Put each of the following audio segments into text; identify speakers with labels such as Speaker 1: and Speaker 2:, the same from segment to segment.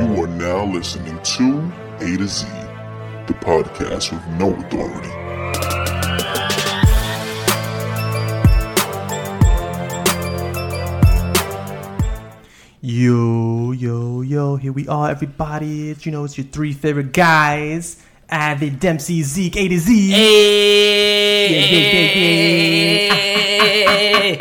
Speaker 1: You are now listening to A to Z, the podcast with no authority.
Speaker 2: Yo, yo, yo, here we are, everybody. It's, you know, it's your three favorite guys. Avid, Dempsey, Zeke, A to Z. eh,
Speaker 3: Hey,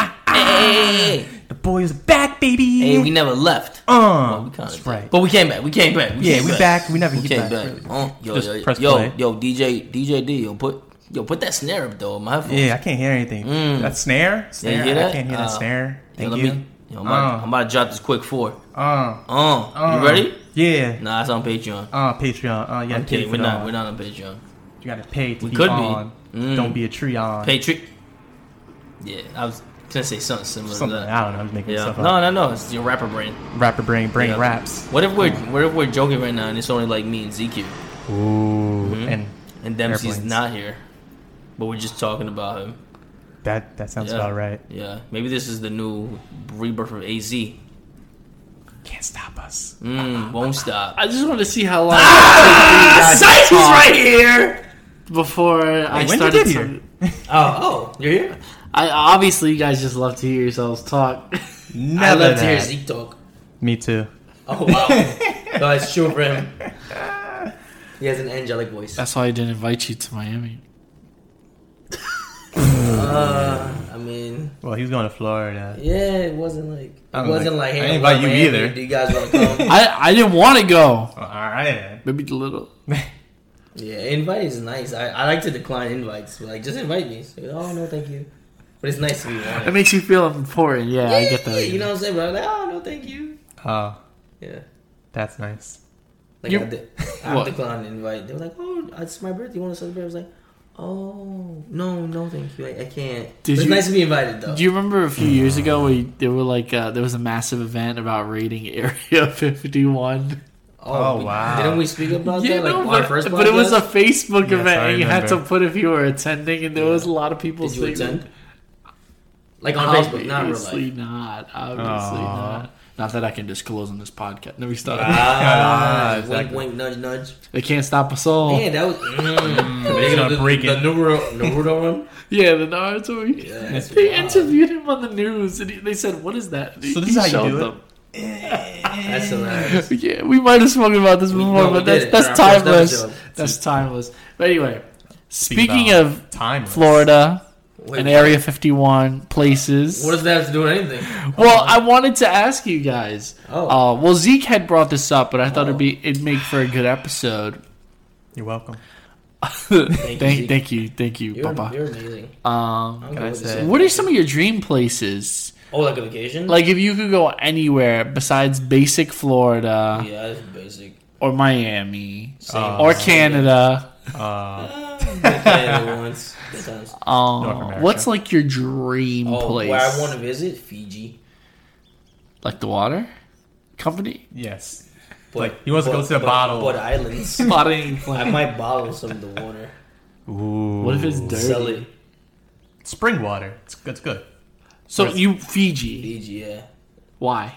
Speaker 3: hey,
Speaker 2: The boys are back, baby.
Speaker 3: hey, we never left.
Speaker 2: eh.
Speaker 3: Oh,
Speaker 2: uh,
Speaker 3: We kinda
Speaker 2: that's
Speaker 3: did.
Speaker 2: right.
Speaker 3: But we came back. We came back.
Speaker 2: Yeah,
Speaker 3: came
Speaker 2: we back. We never
Speaker 3: we
Speaker 2: get
Speaker 3: came
Speaker 2: back,
Speaker 3: back.
Speaker 2: really.
Speaker 3: Uh, yo,
Speaker 2: Just
Speaker 3: yo,
Speaker 2: press
Speaker 3: yo,
Speaker 2: play.
Speaker 3: yo, DJ, DJ D, yo, put, yo, put that snare up though. on My headphones.
Speaker 2: yeah, I can't hear anything. That snare? snare.
Speaker 3: Mm. hear that?
Speaker 2: I can't hear
Speaker 3: Uh,
Speaker 2: that snare.
Speaker 3: Yo,
Speaker 2: Thank
Speaker 3: let
Speaker 2: you.
Speaker 3: me- yo, I'm, about,
Speaker 2: Uh.
Speaker 3: I'm about to drop this quick four.
Speaker 2: Uh,
Speaker 3: Uh,
Speaker 2: uh,
Speaker 3: you ready?
Speaker 2: Yeah.
Speaker 3: Nah, it's on Patreon.
Speaker 2: Uh, Patreon. Uh, yeah,
Speaker 3: I'm kidding. We're not. We're
Speaker 2: You
Speaker 3: not on Patreon.
Speaker 2: gotta pay to
Speaker 3: We
Speaker 2: be
Speaker 3: could be.
Speaker 2: on.
Speaker 3: Mm.
Speaker 2: Don't be a tree on.
Speaker 3: Patreon. Yeah, I was gonna say something similar
Speaker 2: Something.
Speaker 3: to that.
Speaker 2: I don't know. I'm just making
Speaker 3: Yeah.
Speaker 2: stuff
Speaker 3: No,
Speaker 2: up.
Speaker 3: no, no. It's your rapper brain.
Speaker 2: Rapper brain, brain
Speaker 3: Yeah.
Speaker 2: raps. Um,
Speaker 3: What if we're what if we're joking right now and it's only like me and Zeke
Speaker 2: Ooh.
Speaker 3: Mm-hmm.
Speaker 2: And
Speaker 3: and Dempsey's
Speaker 2: Airplanes.
Speaker 3: not here, but we're just talking about him.
Speaker 2: that that sounds
Speaker 3: Yeah.
Speaker 2: about right.
Speaker 3: Yeah, maybe this is the new rebirth of AZ.
Speaker 2: Can't stop us.
Speaker 3: Mm, won't stop.
Speaker 4: I just want to see how long ah,
Speaker 3: Sight is right here.
Speaker 4: before I
Speaker 2: when
Speaker 4: started.
Speaker 2: did you get
Speaker 4: to,
Speaker 2: here?
Speaker 3: Oh, oh, you're here.
Speaker 4: I obviously you guys just love to hear yourselves talk.
Speaker 3: I
Speaker 2: Never
Speaker 3: love to
Speaker 2: that.
Speaker 3: hear Zeke talk.
Speaker 2: Me too.
Speaker 3: Oh wow, that's true for him. He has an angelic voice.
Speaker 2: Uh.
Speaker 4: That's why I didn't invite you to Miami.
Speaker 3: I mean,
Speaker 2: Well, he was going to Florida.
Speaker 3: yeah, it wasn't like it
Speaker 2: I'm
Speaker 3: wasn't
Speaker 2: like, I
Speaker 3: like, hey,
Speaker 2: ain't
Speaker 3: I'm
Speaker 2: invite
Speaker 3: going
Speaker 2: you
Speaker 3: to Miami.
Speaker 2: either.
Speaker 3: Do you guys want to come?
Speaker 4: I I didn't want to go.
Speaker 2: All right.
Speaker 4: Maybe a little.
Speaker 3: Yeah, invite is nice. I, I like to decline invites. But like, just invite me. It's like, oh no, thank you. But it's nice to be
Speaker 4: It
Speaker 3: wanted.
Speaker 4: makes you feel important. Yeah, I get
Speaker 3: Yeah,
Speaker 4: that.
Speaker 3: you know what I'm saying? But I'm like, oh no, thank you.
Speaker 2: Oh,
Speaker 3: Yeah,
Speaker 2: that's nice.
Speaker 3: like I,
Speaker 4: You-
Speaker 3: de- I
Speaker 4: What?
Speaker 3: declined an invite. They were like, oh, it's my birthday. You want to celebrate? I was like, oh no, no, thank you. I, I can't.
Speaker 4: Did
Speaker 3: it's
Speaker 4: you-
Speaker 3: nice to be invited though.
Speaker 4: Do you remember a few years ago where you- there were like uh, there was a massive event about raiding Area 51?
Speaker 2: Oh,
Speaker 3: we-
Speaker 2: wow.
Speaker 3: Didn't we speak about that? Like
Speaker 4: no,
Speaker 3: on
Speaker 4: but,
Speaker 3: our first
Speaker 4: but it was a
Speaker 3: podcast?
Speaker 4: Facebook
Speaker 2: Yes,
Speaker 4: event
Speaker 2: I
Speaker 4: and you had to
Speaker 2: remember.
Speaker 4: put if you were attending, and there was a lot of people
Speaker 3: Did you
Speaker 4: saying-
Speaker 3: attend? Like on Facebook, not in real
Speaker 4: Obviously
Speaker 3: life.
Speaker 4: not. Obviously
Speaker 2: Aw.
Speaker 4: not. Not that I can disclose on this podcast. No, we stop.
Speaker 3: Ah,
Speaker 2: exactly.
Speaker 3: Wink, wink, nudge, nudge.
Speaker 4: They can't stop us all.
Speaker 3: Man, that was. Mm,
Speaker 2: They're gonna
Speaker 3: the,
Speaker 2: break
Speaker 3: the
Speaker 2: it.
Speaker 3: Naruto, Naruto run.
Speaker 4: Yeah, the Naruto.
Speaker 3: Yeah, that's
Speaker 4: they
Speaker 3: wild.
Speaker 4: interviewed him on the news, and he, they said, "What is that?"
Speaker 2: So this is how you do it?
Speaker 3: That's hilarious.
Speaker 4: Them. Yeah, we might have spoken about this before,
Speaker 3: no, we
Speaker 4: but that's
Speaker 3: did it
Speaker 4: that's
Speaker 3: in our first
Speaker 4: timeless.
Speaker 3: episode.
Speaker 4: That's timeless. But anyway, speaking
Speaker 2: about
Speaker 4: of
Speaker 2: Timeless.
Speaker 4: Florida
Speaker 3: Wait,
Speaker 4: and Area 51 places,
Speaker 3: What does that have to do with anything?
Speaker 4: well, I wanted to ask you guys.
Speaker 3: Oh.
Speaker 4: uh, well, Zeke had brought this up, but I thought it'd be it'd make for a good episode.
Speaker 2: You're welcome.
Speaker 4: thank,
Speaker 3: Zeke.
Speaker 4: thank, you, thank you,
Speaker 3: You're,
Speaker 4: Papa.
Speaker 3: you're amazing.
Speaker 4: um,
Speaker 3: I'm
Speaker 2: Can I
Speaker 3: good with
Speaker 2: say-
Speaker 3: this.
Speaker 4: what are some of your dream places?
Speaker 3: Oh, like a vacation?
Speaker 4: Like if you could go anywhere besides basic Florida
Speaker 3: yeah, Uh, that's basic.
Speaker 4: or Miami
Speaker 3: Same.
Speaker 4: or Canada,
Speaker 2: Uh,
Speaker 3: Canada once. That sounds-
Speaker 2: North
Speaker 4: um,
Speaker 2: America.
Speaker 4: what's like your dream
Speaker 3: Oh,
Speaker 4: place?
Speaker 3: where I want to visit Fiji.
Speaker 4: like the water company,
Speaker 2: yes.
Speaker 3: But,
Speaker 2: Like, he wants to go to the bottle.
Speaker 3: But islands.
Speaker 4: spotting
Speaker 3: I
Speaker 4: plan.
Speaker 3: might bottle some of the water.
Speaker 2: Ooh.
Speaker 4: What if it's
Speaker 3: Sell
Speaker 4: dirty?
Speaker 3: it.
Speaker 2: spring water? It's good. It's good.
Speaker 4: So you Fiji?
Speaker 3: Fiji, yeah.
Speaker 4: Why?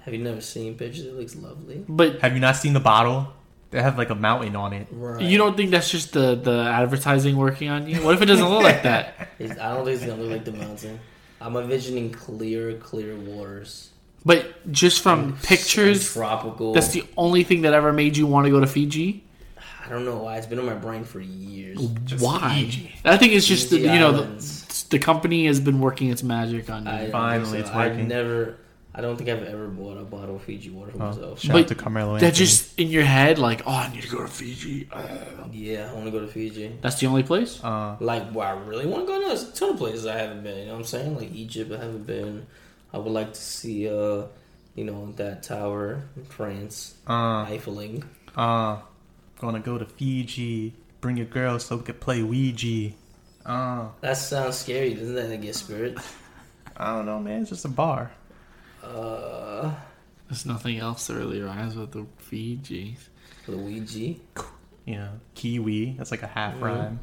Speaker 3: Have you never seen pictures? It looks lovely.
Speaker 4: But
Speaker 2: Have you not seen the bottle? They have like a mountain on it.
Speaker 3: Right.
Speaker 4: you don't think that's just the the advertising working on you? What if it doesn't look like that?
Speaker 3: It's- I don't think it's gonna look like the mountain. I'm envisioning clear, clear waters.
Speaker 4: But just from
Speaker 3: And
Speaker 4: pictures,
Speaker 3: tropical.
Speaker 4: that's the only thing that ever made you want to go to Fiji.
Speaker 3: I don't know why it's been on my brain for years.
Speaker 2: Just
Speaker 4: Why?
Speaker 2: Fiji.
Speaker 4: I think it's just the,
Speaker 3: Fiji
Speaker 4: you know
Speaker 3: Islands.
Speaker 4: the, the company has been working its magic on you.
Speaker 3: I don't
Speaker 2: Finally,
Speaker 3: think
Speaker 2: it's
Speaker 3: I
Speaker 2: working. Oh,
Speaker 3: never. I don't think I've ever bought a bottle of Fiji water for myself.
Speaker 2: Shout out to Carmelo.
Speaker 4: that
Speaker 2: Anthony.
Speaker 4: just in your head, like, oh, I need to go to Fiji. Uh,
Speaker 3: Yeah, I want to go to Fiji.
Speaker 4: That's the only place.
Speaker 2: Uh,
Speaker 3: Like, where I really want to go? No, there's a ton of places I haven't been. You know what I'm saying? Like Egypt, I haven't been. I would like to see, uh, you know, that tower in France,
Speaker 2: Uh,
Speaker 3: Eiffeling.
Speaker 2: uh, gonna go to Fiji. Bring your girl so we could play Ouija. Uh,
Speaker 3: That sounds scary, doesn't that? I guess spirit.
Speaker 2: I don't know, man. It's just a bar.
Speaker 3: Uh,
Speaker 4: There's nothing else that really rhymes with the Fiji.
Speaker 3: Luigi,
Speaker 2: You know, Kiwi. That's like a half rhyme.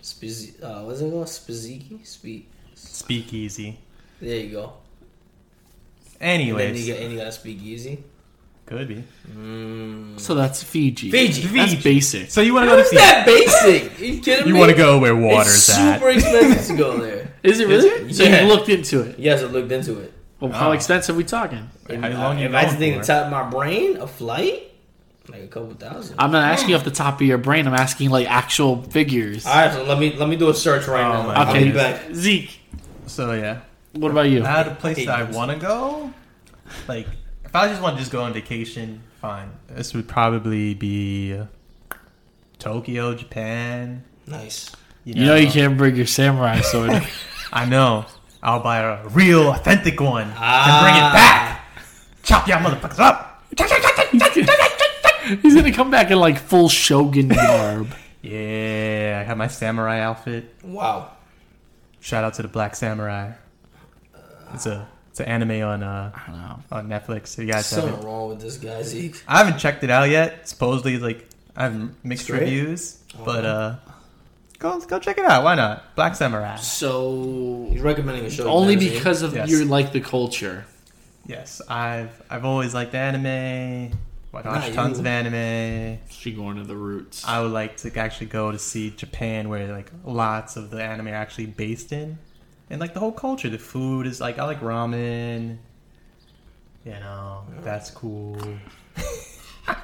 Speaker 3: Spiz- uh, what's it called? Spiziki. Spe-
Speaker 2: Speakeasy.
Speaker 3: There you go. And then you
Speaker 2: Anyways,
Speaker 3: got and you got speakeasy.
Speaker 2: could be.
Speaker 4: So that's Fiji.
Speaker 3: Fiji.
Speaker 4: That's basic.
Speaker 2: So you want to
Speaker 3: How
Speaker 2: go to
Speaker 3: is
Speaker 2: Fiji?
Speaker 3: that basic? Are you kidding
Speaker 2: You
Speaker 3: me?
Speaker 2: want to go where water's
Speaker 3: It's
Speaker 2: at?
Speaker 3: super expensive to go there.
Speaker 4: Is it really? So
Speaker 3: Yeah. Ah.
Speaker 4: you looked into it.
Speaker 3: Yes, I looked into it.
Speaker 4: Well, how expensive are we talking?
Speaker 2: How long you
Speaker 3: if I had to
Speaker 2: going
Speaker 3: think
Speaker 2: for?
Speaker 3: the top of my brain, a flight, like a couple thousand.
Speaker 4: I'm not
Speaker 3: Ah.
Speaker 4: asking off the top of your brain. I'm asking like actual figures.
Speaker 3: All right, so let me let me do a search right
Speaker 2: Oh
Speaker 3: now.
Speaker 2: my
Speaker 3: Ah, I'll be
Speaker 4: okay,
Speaker 3: back. Ah.
Speaker 4: Zeke.
Speaker 2: So yeah,
Speaker 4: What about you?
Speaker 2: out of place
Speaker 3: hate
Speaker 2: that I
Speaker 3: those.
Speaker 2: want to go. Like, if I just want to just go on vacation, fine. This would probably be uh, Tokyo, Japan.
Speaker 3: Nice.
Speaker 4: You know you can't bring your samurai sword.
Speaker 2: I know. I'll buy a real, authentic one and bring
Speaker 3: Ah.
Speaker 2: it back. Chop y'all motherfuckers up. Chop, chop, chop, chop, chop, chop, chop, chop.
Speaker 4: He's gonna come back in like full shogun garb.
Speaker 2: yeah, I have my samurai outfit.
Speaker 3: Wow.
Speaker 2: Shout out to the Black Samurai. It's a it's an anime on uh
Speaker 4: I don't know.
Speaker 2: on Netflix. If you guys haven't
Speaker 3: Something wrong with this guy, Zeke.
Speaker 2: I haven't checked it out yet. Supposedly, like I have mixed
Speaker 3: Straight? Oh,
Speaker 2: reviews, but uh, go go check it out. Why not? Black Samurai.
Speaker 4: So
Speaker 3: He's recommending a show.
Speaker 4: only
Speaker 3: you've never
Speaker 4: because of
Speaker 2: Yes.
Speaker 4: you like the culture.
Speaker 2: Yes, I've I've always liked anime. I
Speaker 3: Nah,
Speaker 2: watch
Speaker 3: you-
Speaker 2: tons of anime.
Speaker 4: She going to the roots.
Speaker 2: I would like to actually go to see Japan, where like lots of the anime are actually based in, and like the whole culture. The food is like I like ramen. You know, that's cool.
Speaker 3: seen.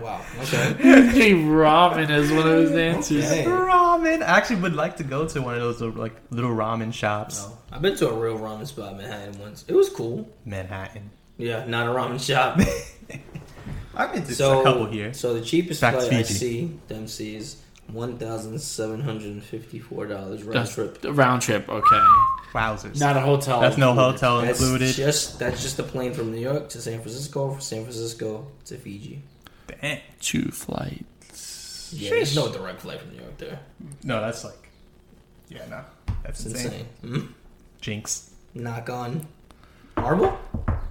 Speaker 3: Wow. Okay.
Speaker 4: Hey, ramen is one of his answers.
Speaker 3: Okay.
Speaker 2: Ramen. I actually would like to go to one of those little, like little ramen shops,
Speaker 3: No. I've been to a real ramen spot in Manhattan once. It was cool.
Speaker 2: Manhattan.
Speaker 3: Yeah, not a ramen shop.
Speaker 2: I've been to
Speaker 3: so
Speaker 2: a couple here.
Speaker 3: So the cheapest
Speaker 2: Back to
Speaker 3: flight I
Speaker 2: Fiji.
Speaker 3: see them see is one thousand seven hundred and fifty four dollars round
Speaker 4: That's
Speaker 3: trip.
Speaker 4: a round trip. Okay,
Speaker 2: Wowzers.
Speaker 4: not a hotel.
Speaker 2: That's no
Speaker 4: included.
Speaker 2: hotel
Speaker 3: That's
Speaker 2: included.
Speaker 3: just that's just the plane from New York to San Francisco, from San Francisco to Fiji.
Speaker 2: Damn.
Speaker 4: Two flight.
Speaker 3: Yeah, there's no direct flight from New York there.
Speaker 2: No, that's like, yeah, no, that's
Speaker 3: It's
Speaker 2: insane.
Speaker 3: insane. Mm.
Speaker 2: Jinx.
Speaker 3: Knock on marble.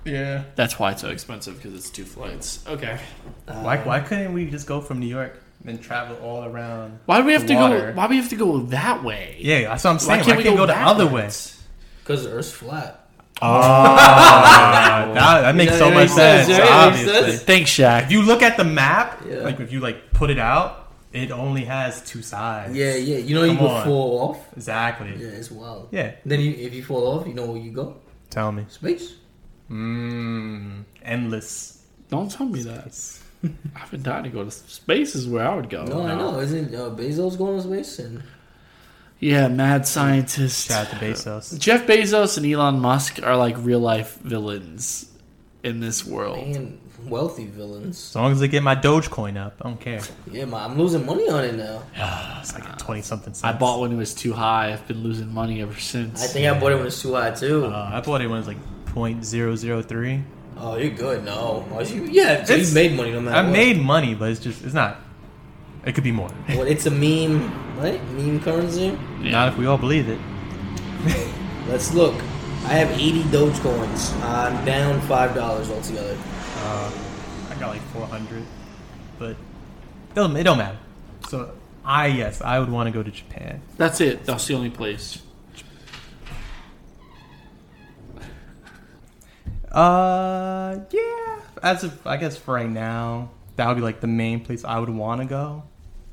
Speaker 2: Yeah.
Speaker 4: That's why it's so expensive because it's two flights. Okay.
Speaker 2: Why, why couldn't we just go from New York and travel all around?
Speaker 4: Why do we have
Speaker 2: the
Speaker 4: to
Speaker 2: water?
Speaker 4: go? Why do we have to go that way?
Speaker 2: Yeah, that's what I'm
Speaker 4: Why
Speaker 2: saying. Why can't, we go, the other way?
Speaker 3: Because the Earth's flat.
Speaker 2: That, that makes
Speaker 3: Yeah,
Speaker 2: so
Speaker 3: yeah,
Speaker 2: much
Speaker 3: makes
Speaker 2: sense.
Speaker 3: sense, yeah, makes
Speaker 2: obviously,
Speaker 3: sense.
Speaker 4: Thanks, Shaq.
Speaker 2: if you look at the map,
Speaker 3: Yeah.
Speaker 2: like if you like put it out, it only has two sides.
Speaker 3: Yeah, yeah. You know you
Speaker 2: Come
Speaker 3: can
Speaker 2: on.
Speaker 3: fall off.
Speaker 2: Exactly.
Speaker 3: Yeah, it's wild.
Speaker 2: Yeah.
Speaker 3: Then you, if you fall off, you know where you go.
Speaker 2: Tell me.
Speaker 3: Space. Mm.
Speaker 2: Mmm. Endless.
Speaker 4: Don't tell me that. I've been dying to go to space. Is where I would go.
Speaker 3: No, I know. Isn't uh, Bezos going to space? And
Speaker 4: Yeah, mad scientist.
Speaker 2: Shout out to Bezos.
Speaker 4: Jeff Bezos and Elon Musk are like real life villains in this world.
Speaker 3: and wealthy villains.
Speaker 2: As long as I get my Dogecoin up, I don't care.
Speaker 3: Yeah, my, I'm losing money on it now.
Speaker 2: It's like twenty something.
Speaker 4: I bought when it was too high. I've been losing money ever since.
Speaker 3: I think I bought it when it's too high too.
Speaker 2: Uh, I bought it when it was like point zero zero three.
Speaker 3: oh, you're good. No, oh, you, yeah, so you
Speaker 2: It's-
Speaker 3: made money no matter.
Speaker 2: I
Speaker 3: what.
Speaker 2: made money, but it's just it's not. It could be more.
Speaker 3: Well, it's a meme, right? Meme currency.
Speaker 2: Not if we all believe it.
Speaker 3: Let's look. I have 80 Dogecoins. I'm down five dollars altogether.
Speaker 2: I got like four hundred, but it don't, it don't matter. So I yes, I would want to go to Japan.
Speaker 4: That's it. That's the only place.
Speaker 2: Uh, yeah. As of I guess for right now, that would be like the main place I would want to go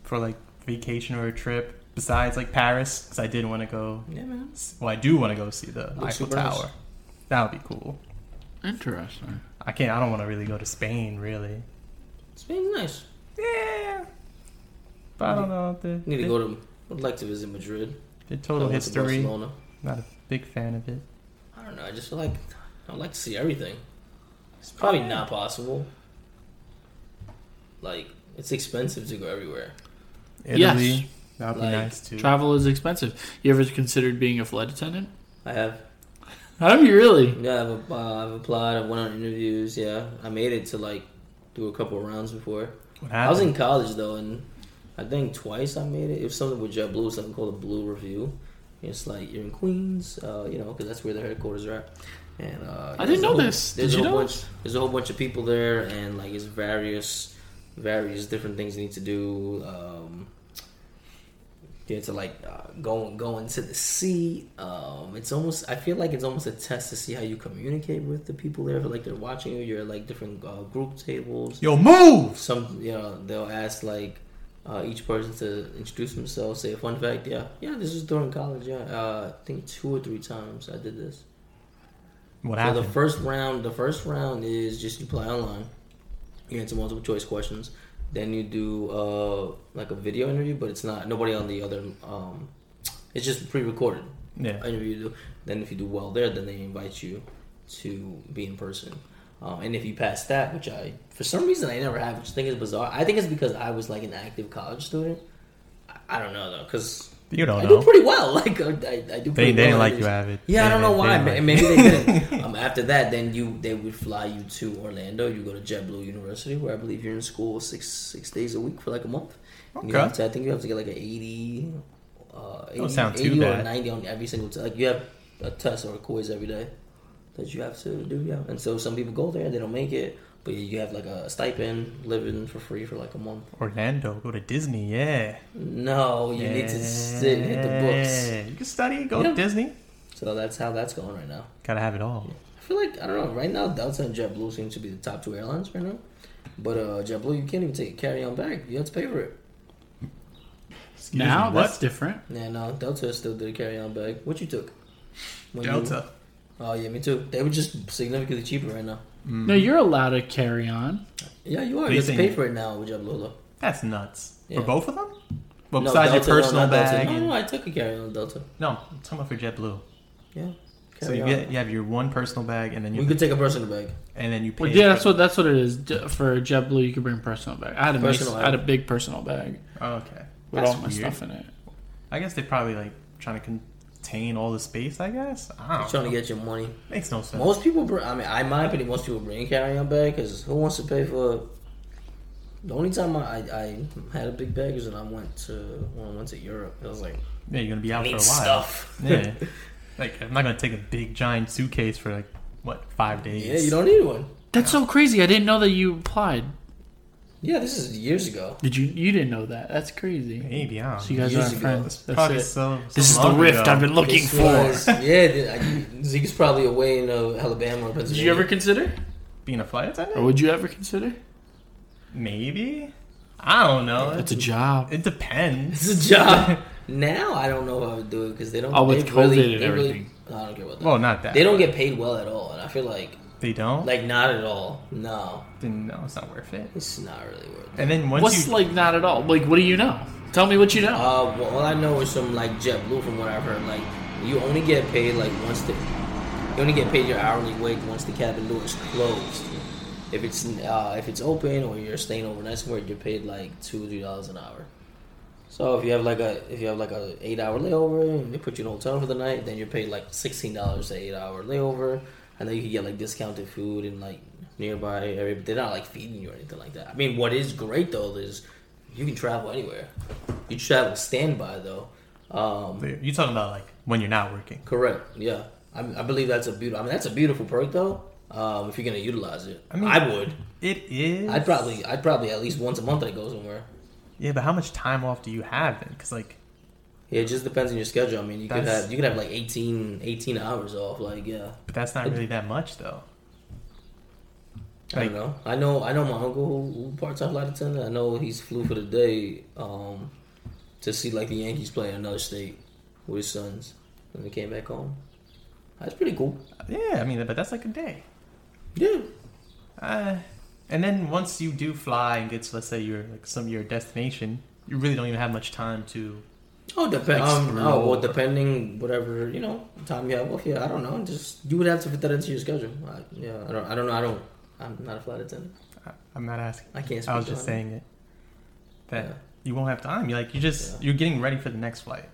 Speaker 2: for like vacation or a trip. Besides like Paris, because I did want to go.
Speaker 3: Yeah, man.
Speaker 2: Well, I do want to go see the Eiffel
Speaker 3: super nice.
Speaker 2: Tower. That would be cool.
Speaker 4: Interesting.
Speaker 2: I can't. I don't want to really go to Spain, really.
Speaker 3: Spain's nice.
Speaker 2: Yeah, but I don't know the,
Speaker 3: Need to
Speaker 2: the-
Speaker 3: go to. I'd like to visit Madrid.
Speaker 2: the
Speaker 3: I
Speaker 2: total
Speaker 3: went to
Speaker 2: history.
Speaker 3: Barcelona.
Speaker 2: Not a big fan of it.
Speaker 3: I don't know. I just feel like I'd like to see everything. It's probably not possible. Like it's expensive to go everywhere.
Speaker 4: Yes.
Speaker 2: Italy, that'd be
Speaker 3: Like,
Speaker 2: nice too.
Speaker 4: Travel is expensive. You ever considered being a flight attendant?
Speaker 3: I have.
Speaker 4: Have you really?
Speaker 3: Yeah, I've, uh, I've applied. I've went on interviews. Yeah, I made it to like do a couple rounds before.
Speaker 2: What
Speaker 3: I was
Speaker 2: happened?
Speaker 3: in college though, and I think twice I made it. It was something with JetBlue, something called a Blue Review. It's like you're in Queens, uh, you know, because that's where the headquarters are. At. And uh,
Speaker 4: I
Speaker 3: there's
Speaker 4: didn't
Speaker 3: a
Speaker 4: know
Speaker 3: whole-
Speaker 4: this.
Speaker 3: There's
Speaker 4: Did you
Speaker 3: a whole
Speaker 4: know
Speaker 3: bunch.
Speaker 4: this?
Speaker 3: There's a whole bunch of people there, and like it's various, various different things you need to do. Um, you have to like uh, go go into the seat. Um, it's almost I feel like it's almost a test to see how you communicate with the people there. Like they're watching you. You're at, like different uh, group tables
Speaker 2: Yo, move!
Speaker 3: some you know they'll ask like uh, each person to introduce themselves say a fun fact yeah yeah this was during college yeah uh, i think two or three times i did this
Speaker 2: What
Speaker 3: so the
Speaker 2: happened?
Speaker 3: first round the first round is just you play online you answer multiple choice questions then you do uh, like a video interview but it's not nobody on the other um, it's just pre-recorded
Speaker 2: Yeah.
Speaker 3: interview you do then if you do well there then they invite you to be in person um, and if you pass that which i for some reason i never have which i think is bizarre i think it's because i was like an active college student I- i don't know though because
Speaker 2: You don't
Speaker 3: I
Speaker 2: know.
Speaker 3: do pretty well. Like uh, I, I, I do.
Speaker 2: They-
Speaker 3: pretty
Speaker 2: they didn't
Speaker 3: well.
Speaker 2: like you, Avid.
Speaker 3: Yeah, I
Speaker 2: They-
Speaker 3: don't know
Speaker 2: they-
Speaker 3: why.
Speaker 2: they
Speaker 3: Ma-
Speaker 2: didn't
Speaker 3: Maybe
Speaker 2: like
Speaker 3: they didn't. um, after that, then you they would fly you to Orlando. You go to JetBlue University, where I believe you're in school six six days a week for like a month. And you
Speaker 2: Okay.
Speaker 3: have to, I think you have to get like an eighty, uh, 80,
Speaker 2: sound too
Speaker 3: 80 or
Speaker 2: bad.
Speaker 3: ninety on every single test. Like you have a test or a quiz every day that you have to do. Yeah, and so some people go there, they don't make it, but you have like a stipend, living for free for like a month.
Speaker 2: Orlando, go to Disney, yeah.
Speaker 3: No, you need to sit and hit the books.
Speaker 2: Yeah. You can study, go
Speaker 3: Yeah.
Speaker 2: to Disney.
Speaker 3: So that's how that's going right now.
Speaker 2: Gotta have it all.
Speaker 3: I feel like I don't know. Right now, Delta and JetBlue seem to be the top two airlines right now. But uh, JetBlue, you can't even take a carry-on bag. You have to pay for it.
Speaker 2: Excuse
Speaker 4: Now
Speaker 2: me,
Speaker 4: that's
Speaker 2: what?
Speaker 4: different.
Speaker 3: Yeah, no, uh, Delta still did a carry-on bag. What you took? When you-
Speaker 2: Delta.
Speaker 3: oh yeah, me too. They were just significantly cheaper right now.
Speaker 2: Mm.
Speaker 4: No, you're allowed to carry on.
Speaker 3: Yeah, you are.
Speaker 2: But
Speaker 3: You
Speaker 2: you
Speaker 3: have to
Speaker 2: think-
Speaker 3: pay for it now with JetBlue though.
Speaker 2: That's nuts.
Speaker 3: Yeah.
Speaker 2: For both of them? Well,
Speaker 3: No,
Speaker 2: besides
Speaker 3: Delta, no,
Speaker 2: your personal
Speaker 3: not Delta.
Speaker 2: bag.
Speaker 3: No,
Speaker 2: and-
Speaker 3: no, I took a carry-on Delta.
Speaker 2: No, I'm talking about for JetBlue.
Speaker 3: Yeah.
Speaker 2: So you
Speaker 3: carry-on.
Speaker 2: get you have your one personal bag, and then you
Speaker 3: We could take a personal bag.
Speaker 2: and then you pay.
Speaker 4: Well, yeah, that's
Speaker 2: for-
Speaker 4: what that's what it is D- for JetBlue. You can bring personal bag. I had a nice,
Speaker 3: Personal
Speaker 4: I had a big personal bag
Speaker 2: Oh, okay.
Speaker 4: with
Speaker 2: That's
Speaker 4: all my
Speaker 2: weird.
Speaker 4: stuff in it.
Speaker 2: I guess they're probably like trying to contain all the space. I guess. I don't.
Speaker 3: You're trying to get your money.
Speaker 2: Makes no sense.
Speaker 3: Most people, bring, I mean, I, in my opinion, most people bring carry-on bag because who wants to pay for? The only time I, I, I had a big bag was when I went to when I went to Europe. I was like,
Speaker 2: yeah, you're gonna be out
Speaker 3: I
Speaker 2: for a
Speaker 3: need
Speaker 2: while.
Speaker 3: stuff.
Speaker 2: Yeah. like I'm not gonna take a big giant suitcase for like what five days.
Speaker 3: yeah, you don't need one.
Speaker 4: That's so crazy. I didn't know that you applied.
Speaker 3: Yeah, this is years ago.
Speaker 4: Did you? You didn't know that. That's crazy.
Speaker 2: Maybe I don't.
Speaker 4: So you guys
Speaker 3: Years
Speaker 4: aren't
Speaker 3: ago.
Speaker 4: friends. That's
Speaker 2: Probably
Speaker 4: it.
Speaker 2: so- so
Speaker 4: this is the
Speaker 2: long
Speaker 4: rift
Speaker 2: ago.
Speaker 4: I've been looking
Speaker 3: This
Speaker 4: for.
Speaker 3: was- yeah, th- I, Zeke's probably away in uh, Alabama or Pennsylvania.
Speaker 4: Did you ever consider?
Speaker 2: Being a flight attendant?
Speaker 3: Oh.
Speaker 4: Or would you ever consider?
Speaker 2: Maybe. I don't know.
Speaker 4: That's a job.
Speaker 2: it depends.
Speaker 3: It's a job. now I don't know how to do it because they don't.
Speaker 4: Oh, with
Speaker 3: they
Speaker 4: COVID and
Speaker 3: they
Speaker 4: everything.
Speaker 3: I don't care about that.
Speaker 2: Well, not that.
Speaker 3: they don't get paid well at all, and I feel like
Speaker 2: They don't.
Speaker 3: like not at all. No,
Speaker 2: then no, it's not worth it.
Speaker 3: it's not really worth it.
Speaker 2: And then once
Speaker 4: What's
Speaker 2: you
Speaker 4: like not at all? Like, what do you know? Tell me what you know.
Speaker 3: Uh, well, all I know is from like JetBlue, from what I've heard. Like, you only get paid like once the, you only get paid your hourly wage once the cabin door is closed. If it's uh, if it's open or you're staying overnight somewhere, you're paid like two or three dollars an hour. So if you have like a if you have like a eight hour layover and they put you in a hotel for the night, then you're paid like sixteen dollars to eight hour layover, and then you can get like discounted food and like nearby area. But they're not like feeding you or anything like that. I mean, what is great though is you can travel anywhere. You travel standby though. Um,
Speaker 2: you're talking about like when you're not working.
Speaker 3: correct. Yeah, I, I believe that's a beautiful. I mean, that's a beautiful perk though. Um, if you're gonna utilize it, I,
Speaker 2: mean-
Speaker 3: would.
Speaker 2: It is.
Speaker 3: I'd probably I'd probably at least once a month I go somewhere.
Speaker 2: Yeah, but how much time off do you have then? Because like,
Speaker 3: Yeah, it just depends on your schedule. I mean, you could
Speaker 2: That's-
Speaker 3: have you could have like 18, 18 hours off. Like, yeah,
Speaker 2: but that's not really that much though.
Speaker 3: I
Speaker 2: Like,
Speaker 3: don't know. I know I know my uncle who, who part time flight attendant. I know he's flew for the day um, to see like the Yankees play in another state with his sons, and he came back home. That's pretty cool.
Speaker 2: yeah, I mean, but that's like a day.
Speaker 3: Yeah,
Speaker 2: Uh, and then once you do fly and get to let's say your like some your destination, you really don't even have much time to.
Speaker 3: Oh, depend.
Speaker 2: Like
Speaker 3: Um,
Speaker 2: screw
Speaker 3: oh, well,
Speaker 2: over.
Speaker 3: depending whatever you know time you have off. Yeah, I don't know. Just you would have to fit that into your schedule. I, yeah, I don't. I don't know. I don't. I'm not a flight attendant.
Speaker 2: I- I'm not asking.
Speaker 3: I can't. Speak
Speaker 2: I was
Speaker 3: on
Speaker 2: just
Speaker 3: it.
Speaker 2: saying it. That
Speaker 3: Yeah.
Speaker 2: you won't have time. You're like you just
Speaker 3: Yeah.
Speaker 2: you're getting ready for the next flight.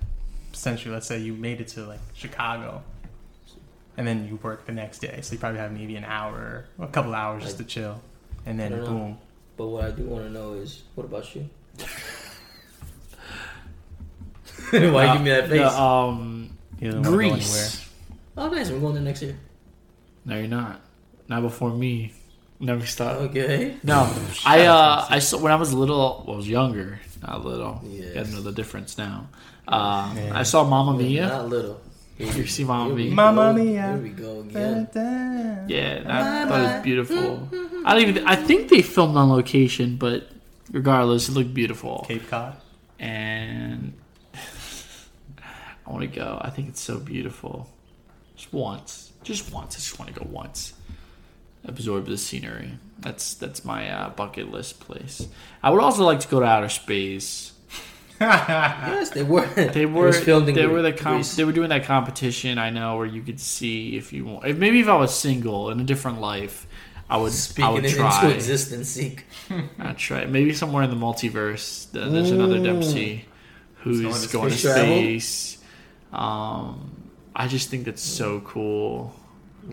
Speaker 2: Essentially, let's say you made it to like Chicago, and then you work the next day. So you probably have maybe an hour, a couple hours just to chill, and then
Speaker 3: I don't know.
Speaker 2: boom.
Speaker 3: But what I do want to know is, what about you? Why
Speaker 4: Uh,
Speaker 3: you give me that face?
Speaker 4: The, um,
Speaker 2: You don't wanna go anywhere.
Speaker 4: Greece.
Speaker 3: oh, nice. We're going there next year.
Speaker 4: No, you're not. Not before me. Never stop.
Speaker 3: Okay.
Speaker 4: No, I uh, I saw when I was little. Well, I was younger, not little.
Speaker 3: Yes.
Speaker 4: Got to know the difference now. Uh, I saw Mamma Mia.
Speaker 3: Not little. Here
Speaker 4: You
Speaker 3: we-
Speaker 4: see Mamma
Speaker 3: here we
Speaker 4: Mia?
Speaker 3: go.
Speaker 2: Mamma Mia.
Speaker 3: Here we go again.
Speaker 4: Yeah, and I thought it was beautiful. I don't even. I think they filmed on location, but regardless, it looked beautiful.
Speaker 2: Cape Cod.
Speaker 4: And I want to go. I think it's so beautiful. Just once, just once. I just want to go once. Absorb the scenery. That's that's my uh, bucket list place. I would also like to go to outer space.
Speaker 3: Yes, they were.
Speaker 4: They
Speaker 3: It
Speaker 4: were
Speaker 3: was filmed in
Speaker 4: they
Speaker 3: Gre-
Speaker 4: were the comp-
Speaker 3: Greece.
Speaker 4: they were doing that competition I know where you could see if you want if, maybe if I was single in a different life I would I
Speaker 3: Speaking
Speaker 4: would
Speaker 3: it
Speaker 4: try
Speaker 3: into existence, Zeke.
Speaker 4: I'd try maybe somewhere in the multiverse th- there's another Dempsey who's
Speaker 2: He's
Speaker 4: going
Speaker 2: going
Speaker 4: to
Speaker 3: to space travel?
Speaker 4: space um I just think that's
Speaker 3: Mm.
Speaker 4: so cool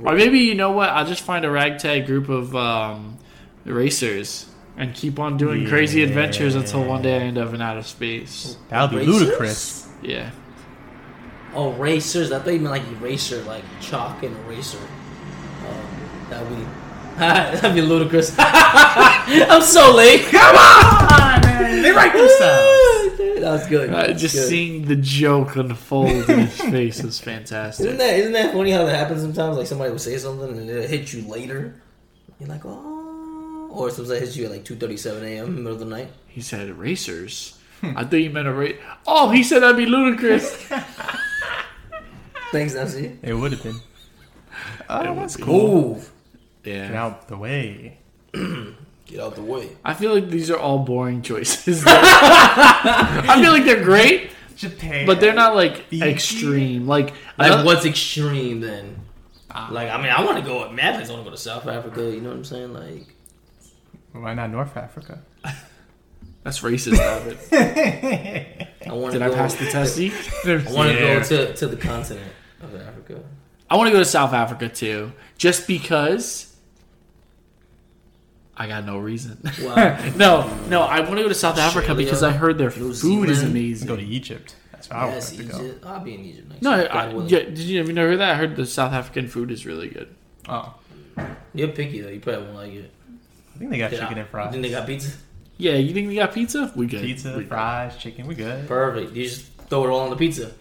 Speaker 4: or maybe you know what I'll just find a ragtag group of um racers and keep on doing crazy adventures until one day I end up in outer space
Speaker 2: That would be
Speaker 3: Racers?
Speaker 2: ludicrous.
Speaker 4: yeah
Speaker 3: Oh, racers. I thought you meant like eraser, like chalk and eraser. Um, that'd be that'd be ludicrous. I'm so late. Come
Speaker 2: They write themselves.
Speaker 3: that was good.
Speaker 4: Uh,
Speaker 3: That was
Speaker 4: just
Speaker 3: good.
Speaker 4: seeing the joke unfold in his face was
Speaker 3: Isn't
Speaker 4: fantastic.
Speaker 3: that isn't that funny how that happens sometimes? Like somebody will say something and it'll hit you later. You're like, oh, or sometimes it hits you at like two thirty seven a.m. middle of the night.
Speaker 4: He said racers.
Speaker 3: Hmm.
Speaker 4: I thought you meant a race. Oh, he said that'd be ludicrous.
Speaker 3: Thanks, Nancy.
Speaker 2: It would have been.
Speaker 4: It
Speaker 2: Oh,
Speaker 4: would
Speaker 2: that's
Speaker 4: be.
Speaker 2: cool.
Speaker 3: Move.
Speaker 2: Get
Speaker 4: Yeah.
Speaker 2: out the way.
Speaker 3: Get out the way.
Speaker 4: I feel like these are all boring choices. I feel like they're great,
Speaker 2: Japan.
Speaker 4: but they're not like extreme. Like,
Speaker 3: Like
Speaker 4: another-
Speaker 3: what's extreme then?
Speaker 4: Ah.
Speaker 3: Like I mean, I want to go. Mavericks want to go to South Africa. You know what I'm saying? Like
Speaker 2: Why not North Africa?
Speaker 4: that's racist. David.
Speaker 3: I want to.
Speaker 4: Did I pass the test? See?
Speaker 3: I want to
Speaker 4: Yeah.
Speaker 3: go to, to the continent of Africa.
Speaker 4: I want to go to South Africa too, just because I got no reason.
Speaker 3: Wow.
Speaker 4: no, no, I want to go to South Africa
Speaker 3: Australia,
Speaker 4: because I heard their
Speaker 3: New
Speaker 4: food is
Speaker 3: Zealand.
Speaker 4: amazing.
Speaker 2: Go to Egypt. That's where I would
Speaker 3: yes,
Speaker 2: like to go.
Speaker 3: Egypt. I'll be in Egypt next.
Speaker 4: no,
Speaker 3: year.
Speaker 4: I,
Speaker 3: God willing.
Speaker 4: yeah, did you have you never heard that? I heard the South African food is really good.
Speaker 2: Oh,
Speaker 3: you're picky though. You probably won't like it.
Speaker 2: I think they got chicken and
Speaker 3: Then they
Speaker 2: fries.
Speaker 3: got pizza.
Speaker 4: Yeah, you think they got pizza? We good.
Speaker 2: Pizza,
Speaker 4: We-
Speaker 2: fries, chicken. We good.
Speaker 3: Perfect. You just throw it all on the pizza.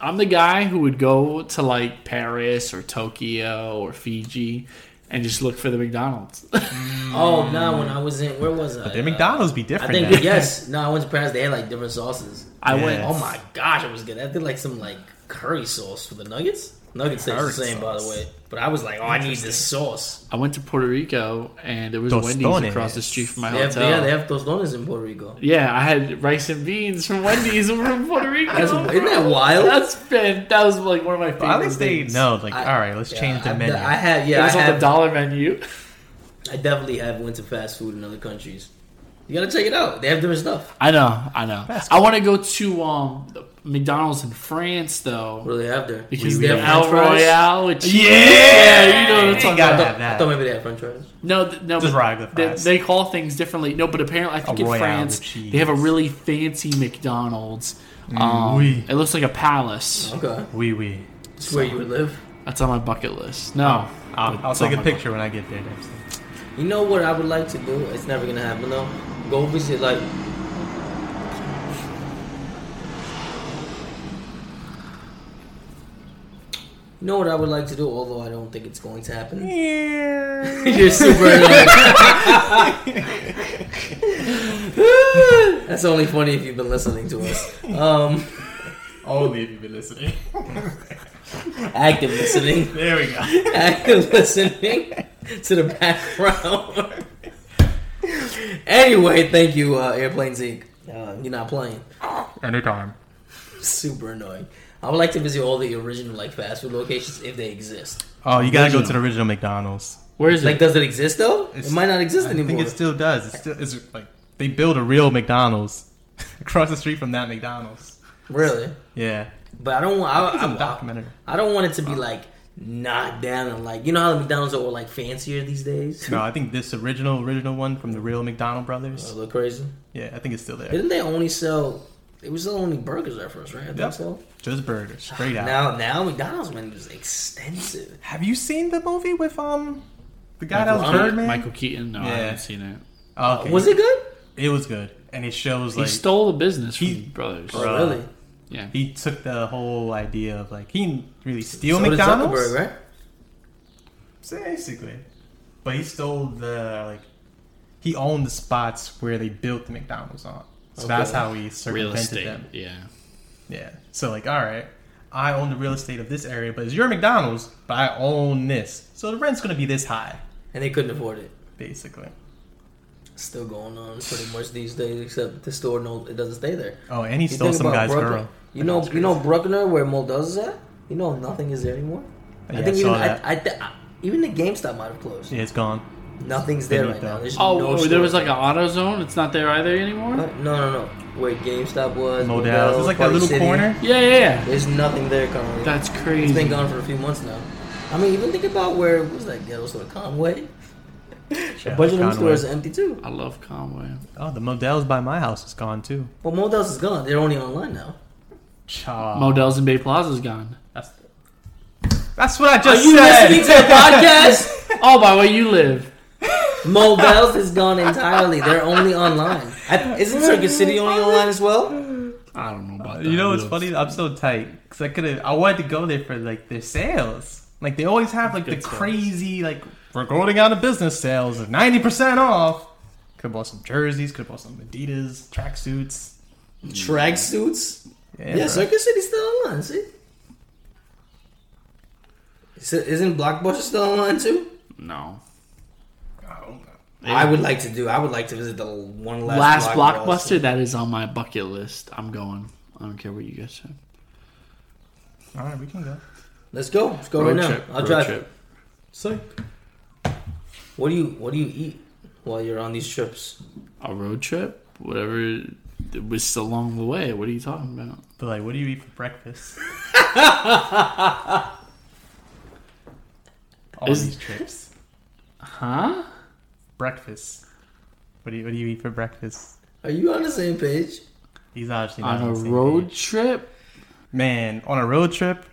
Speaker 4: I'm the guy who would go to like Paris or Tokyo or Fiji and just look for the McDonald's.
Speaker 3: Oh no! When I was in, where was I?
Speaker 2: Their
Speaker 3: Uh,
Speaker 2: McDonald's be
Speaker 3: I
Speaker 2: different.
Speaker 3: think
Speaker 2: now.
Speaker 3: yes. No, I went to Paris. They had like different sauces.
Speaker 4: I
Speaker 2: Yeah.
Speaker 4: went.
Speaker 3: Oh my gosh, it was good. I did like some like curry sauce for the nuggets. Nuggets taste the
Speaker 2: Curry
Speaker 3: same, by the
Speaker 2: sauce.
Speaker 3: way. But I was like, oh, I need this sauce.
Speaker 4: I went to Puerto Rico and there was Wendy's
Speaker 2: Tostones.
Speaker 4: across the street from my
Speaker 3: They have,
Speaker 4: hotel.
Speaker 3: yeah, they have tostones in Puerto Rico.
Speaker 4: Yeah, I had rice and beans from Wendy's over in Puerto Rico.
Speaker 3: That's, isn't that wild?
Speaker 4: That's been that was like one of my favorite.
Speaker 2: But at least they
Speaker 4: things.
Speaker 2: know. Like,
Speaker 3: I-
Speaker 2: all right, let's
Speaker 3: Yeah,
Speaker 2: change the
Speaker 3: I,
Speaker 2: menu.
Speaker 3: I have,
Speaker 4: It
Speaker 3: yeah, I
Speaker 4: was on the
Speaker 3: have.
Speaker 4: dollar menu.
Speaker 3: I definitely have went to fast food in other countries. You gotta check it out. They have different stuff.
Speaker 4: I know, I know. I want to go to um the McDonald's in France though
Speaker 3: What do they have there?
Speaker 4: because
Speaker 3: They
Speaker 4: they have
Speaker 3: have
Speaker 4: El
Speaker 3: french fries?
Speaker 4: Royale. Which,
Speaker 2: yeah,
Speaker 4: you know what I'm talking
Speaker 3: I
Speaker 2: gotta
Speaker 3: thought,
Speaker 2: have that.
Speaker 3: I thought maybe they had French fries.
Speaker 4: No, th- no,
Speaker 2: Just
Speaker 4: but
Speaker 2: rag the
Speaker 4: they,
Speaker 2: fries.
Speaker 4: they call things differently. No, but apparently I think in
Speaker 2: Royale
Speaker 4: France
Speaker 2: with
Speaker 4: they have a
Speaker 2: cheese. Mm,
Speaker 4: really fancy McDonald's. Um,
Speaker 2: oui.
Speaker 4: It looks like a palace.
Speaker 3: Okay,
Speaker 2: Wee wee.
Speaker 3: that's where you would live.
Speaker 4: That's on my bucket list. No,
Speaker 2: I'll, I'll
Speaker 4: it's on
Speaker 2: take a
Speaker 4: my
Speaker 2: picture when I get there. Dempsey.
Speaker 3: You know what I would like to do? It's never gonna happen though. Go visit like. You know what I would like to do, although I don't think it's going to happen. You're super. annoying. That's only funny if you've been listening to us. Um,
Speaker 2: Only if you've been listening.
Speaker 3: active listening,
Speaker 2: There we go.
Speaker 3: active listening to the background. anyway, thank you, uh, Airplane Zeke. Uh, you're not playing.
Speaker 2: Anytime.
Speaker 3: super annoying. I would like to visit all the original like fast food locations if they exist.
Speaker 2: Oh, you gotta go to the
Speaker 4: Original.
Speaker 2: original McDonald's.
Speaker 4: Where is
Speaker 3: Like,
Speaker 4: it?
Speaker 3: does it exist though?
Speaker 2: It's-
Speaker 3: it might not exist
Speaker 2: I
Speaker 3: anymore.
Speaker 2: think it still does. It's still it's like they build a real McDonald's across the street from that McDonald's.
Speaker 3: really,
Speaker 2: Yeah,
Speaker 3: but I don't want. I,
Speaker 2: it's a
Speaker 3: I,
Speaker 2: documentary.
Speaker 3: I don't want it to be like knocked down and like you know how the McDonald's are all like fancier these days.
Speaker 2: No, I think this original original one from the real McDonald brothers.
Speaker 3: look crazy.
Speaker 2: Yeah, I think it's still there.
Speaker 3: Didn't they only sell? It was still only burgers at first, right? I think
Speaker 2: Yep.
Speaker 3: so.
Speaker 2: Just burgers, straight out.
Speaker 3: Now, now McDonald's menu is extensive.
Speaker 2: Have you seen the movie with um the guy that
Speaker 4: Michael,
Speaker 2: was
Speaker 4: Keaton-
Speaker 2: Birdman?
Speaker 4: Michael Keaton. No, I
Speaker 2: Yeah.
Speaker 4: haven't seen it.
Speaker 2: Oh, okay.
Speaker 3: Was it good?
Speaker 2: It was good, and it shows
Speaker 4: He
Speaker 2: like
Speaker 4: stole the business from
Speaker 2: he-
Speaker 4: brothers.
Speaker 2: Bro.
Speaker 3: Oh, really?
Speaker 4: Yeah,
Speaker 2: he took the whole idea of like he didn't really steal
Speaker 3: So did
Speaker 2: McDonald's,
Speaker 3: Zuckerberg, right?
Speaker 2: basically, but he stole the like he owned the spots where they built the McDonald's on. So that's
Speaker 3: Okay.
Speaker 2: how he
Speaker 4: real
Speaker 2: circumvented
Speaker 4: estate.
Speaker 2: them.
Speaker 4: Yeah,
Speaker 2: Yeah. So like, all right, I own the real estate of this area, but it's your McDonald's, but I own this, so the rent's gonna be this high,
Speaker 3: And they couldn't afford it.
Speaker 2: basically.
Speaker 3: Still going on pretty much these days, except the store no, it doesn't stay there.
Speaker 2: Oh, and he
Speaker 3: You
Speaker 2: stole
Speaker 3: think
Speaker 2: some
Speaker 3: about
Speaker 2: guy's
Speaker 3: Bruckner-
Speaker 2: girl.
Speaker 3: You know, you know Bruckner where Moldo's is at. You know, nothing is there anymore.
Speaker 2: Yeah,
Speaker 3: I
Speaker 2: I
Speaker 3: think even
Speaker 2: saw that.
Speaker 3: I, I, th- I, even the GameStop might have closed.
Speaker 2: Yeah, it's gone.
Speaker 3: Nothing's there
Speaker 2: Beneath
Speaker 3: right now.
Speaker 2: that.
Speaker 3: There's
Speaker 4: Oh,
Speaker 3: no
Speaker 4: oh,
Speaker 3: store.
Speaker 4: there was like an auto zone. It's not there either anymore.
Speaker 3: no, no, no. Where GameStop was,
Speaker 2: Modell's. It's like that
Speaker 3: Party
Speaker 2: little
Speaker 3: City.
Speaker 2: corner.
Speaker 4: Yeah, yeah, yeah.
Speaker 3: There's nothing there currently.
Speaker 4: That's
Speaker 3: it's
Speaker 4: crazy.
Speaker 3: been gone for a few months now. I mean, even think about where what was that ghetto store Conway? a bunch of them
Speaker 2: Conway.
Speaker 3: stores are empty too.
Speaker 4: I love Conway.
Speaker 2: Oh, the Modell's by my house is gone too.
Speaker 3: Well, Modell's is gone. They're only online now.
Speaker 2: Chaw.
Speaker 4: Modell's in Bay Plaza's gone.
Speaker 2: that's, that's what I
Speaker 4: Are
Speaker 2: just
Speaker 4: you
Speaker 2: said.
Speaker 4: listening to the podcast? oh, by where you live.
Speaker 3: Modell's is gone entirely. They're only online. I, isn't Circus City only online as well?
Speaker 4: I don't know about that.
Speaker 2: You know what's
Speaker 4: Who
Speaker 2: funny?
Speaker 4: knows?
Speaker 2: I'm so tight because I could have. I wanted to go there for like their sales. Like they always have like the
Speaker 4: Good sales.
Speaker 2: crazy like we're going out of business sales of ninety percent off. Could have bought some jerseys. Could have bought some Adidas tracksuits.
Speaker 3: Track suits.
Speaker 2: Yeah,
Speaker 3: Yeah,
Speaker 2: bro.
Speaker 3: Circus City's still online. See, So isn't Blockbuster still online too?
Speaker 4: No.
Speaker 3: I would like to do. I would like to visit the one last,
Speaker 4: Last blockbuster that is on my bucket list. I'm going. I don't care what you guys say.
Speaker 2: All right, we can go.
Speaker 3: Let's go. Let's go
Speaker 4: Road
Speaker 3: right
Speaker 4: trip.
Speaker 3: now. I'll
Speaker 4: road
Speaker 3: drive.
Speaker 4: trip.
Speaker 3: Sick. What do you What do you eat while you're on these trips?
Speaker 4: A road trip? Whatever. It was along the way. What are you talking about?
Speaker 2: But like, what do you eat for breakfast? All
Speaker 4: Is-
Speaker 2: these trips.
Speaker 4: Huh?
Speaker 2: Breakfast. What do you What do you eat for breakfast?
Speaker 3: Are you on the same page?
Speaker 2: He's obviously not
Speaker 4: On a
Speaker 2: the same
Speaker 4: road
Speaker 2: page.
Speaker 4: trip?
Speaker 2: Man, on a road trip,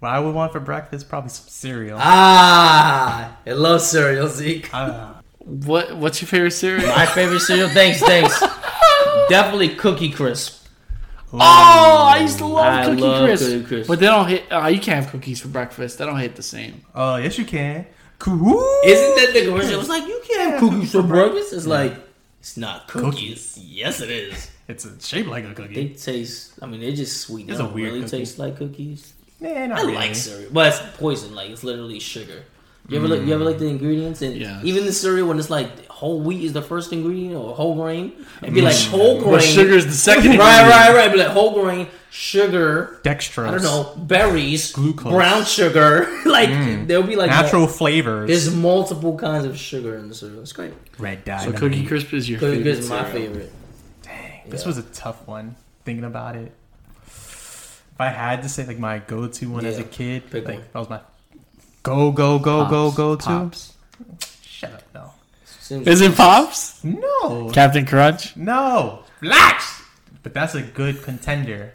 Speaker 2: what I would want for breakfast probably some cereal.
Speaker 3: Ah, I love cereal, Zeke.
Speaker 2: Ah,
Speaker 4: What? What's your favorite cereal?
Speaker 3: My favorite cereal. Thanks, thanks. Definitely Cookie Crisp.
Speaker 4: Oh, I used to love
Speaker 3: I
Speaker 4: Cookie
Speaker 3: love
Speaker 4: Crisp.
Speaker 3: Cookie Crisp.
Speaker 4: But they don't hit. Uh, you can't have cookies for breakfast. They don't hit the same.
Speaker 2: oh yes, you can. Cool.
Speaker 3: Isn't that the commercial? It's like you can't have cookies for breakfast. It's like it's not cookies. Yes, it is.
Speaker 2: It's a, shaped like a cookie.
Speaker 3: They taste. I mean, they're just sweet. They
Speaker 2: It's a
Speaker 3: don't
Speaker 2: weird
Speaker 3: really
Speaker 2: cookie.
Speaker 3: taste like cookies.
Speaker 2: Nah, not
Speaker 3: I
Speaker 2: really.
Speaker 3: like cereal, but it's poison. Like it's literally sugar. You ever look, you ever like the ingredients and
Speaker 4: Yes.
Speaker 3: even the cereal when it's like whole wheat is the first ingredient or whole grain and
Speaker 2: Mm.
Speaker 3: be like whole grain.
Speaker 4: But sugar's the second.
Speaker 3: right, right, right. Be like whole grain, sugar.
Speaker 2: Dextrose.
Speaker 3: I don't know berries,
Speaker 2: Glucose. Mm.
Speaker 3: brown sugar. like there'll be like
Speaker 2: Natural
Speaker 3: mul-
Speaker 2: flavors.
Speaker 3: there's multiple kinds of sugar in the cereal. It's great.
Speaker 2: red dye.
Speaker 4: So Cookie Crisp is your
Speaker 3: Cookie
Speaker 4: favorite.
Speaker 3: Crisp is my
Speaker 4: cereal.
Speaker 3: favorite.
Speaker 2: This was a tough one. Thinking about it, if I had to say like my go-to one as a
Speaker 3: Yeah,
Speaker 2: kid,
Speaker 3: pick
Speaker 2: like
Speaker 3: one.
Speaker 2: that was my go go go go
Speaker 4: Pops,
Speaker 2: go to.
Speaker 4: Pops.
Speaker 2: Shut up, no,
Speaker 3: Seems-
Speaker 4: Is it Pops?
Speaker 2: no,
Speaker 4: Captain Crunch?
Speaker 2: no, relax. But that's a good contender.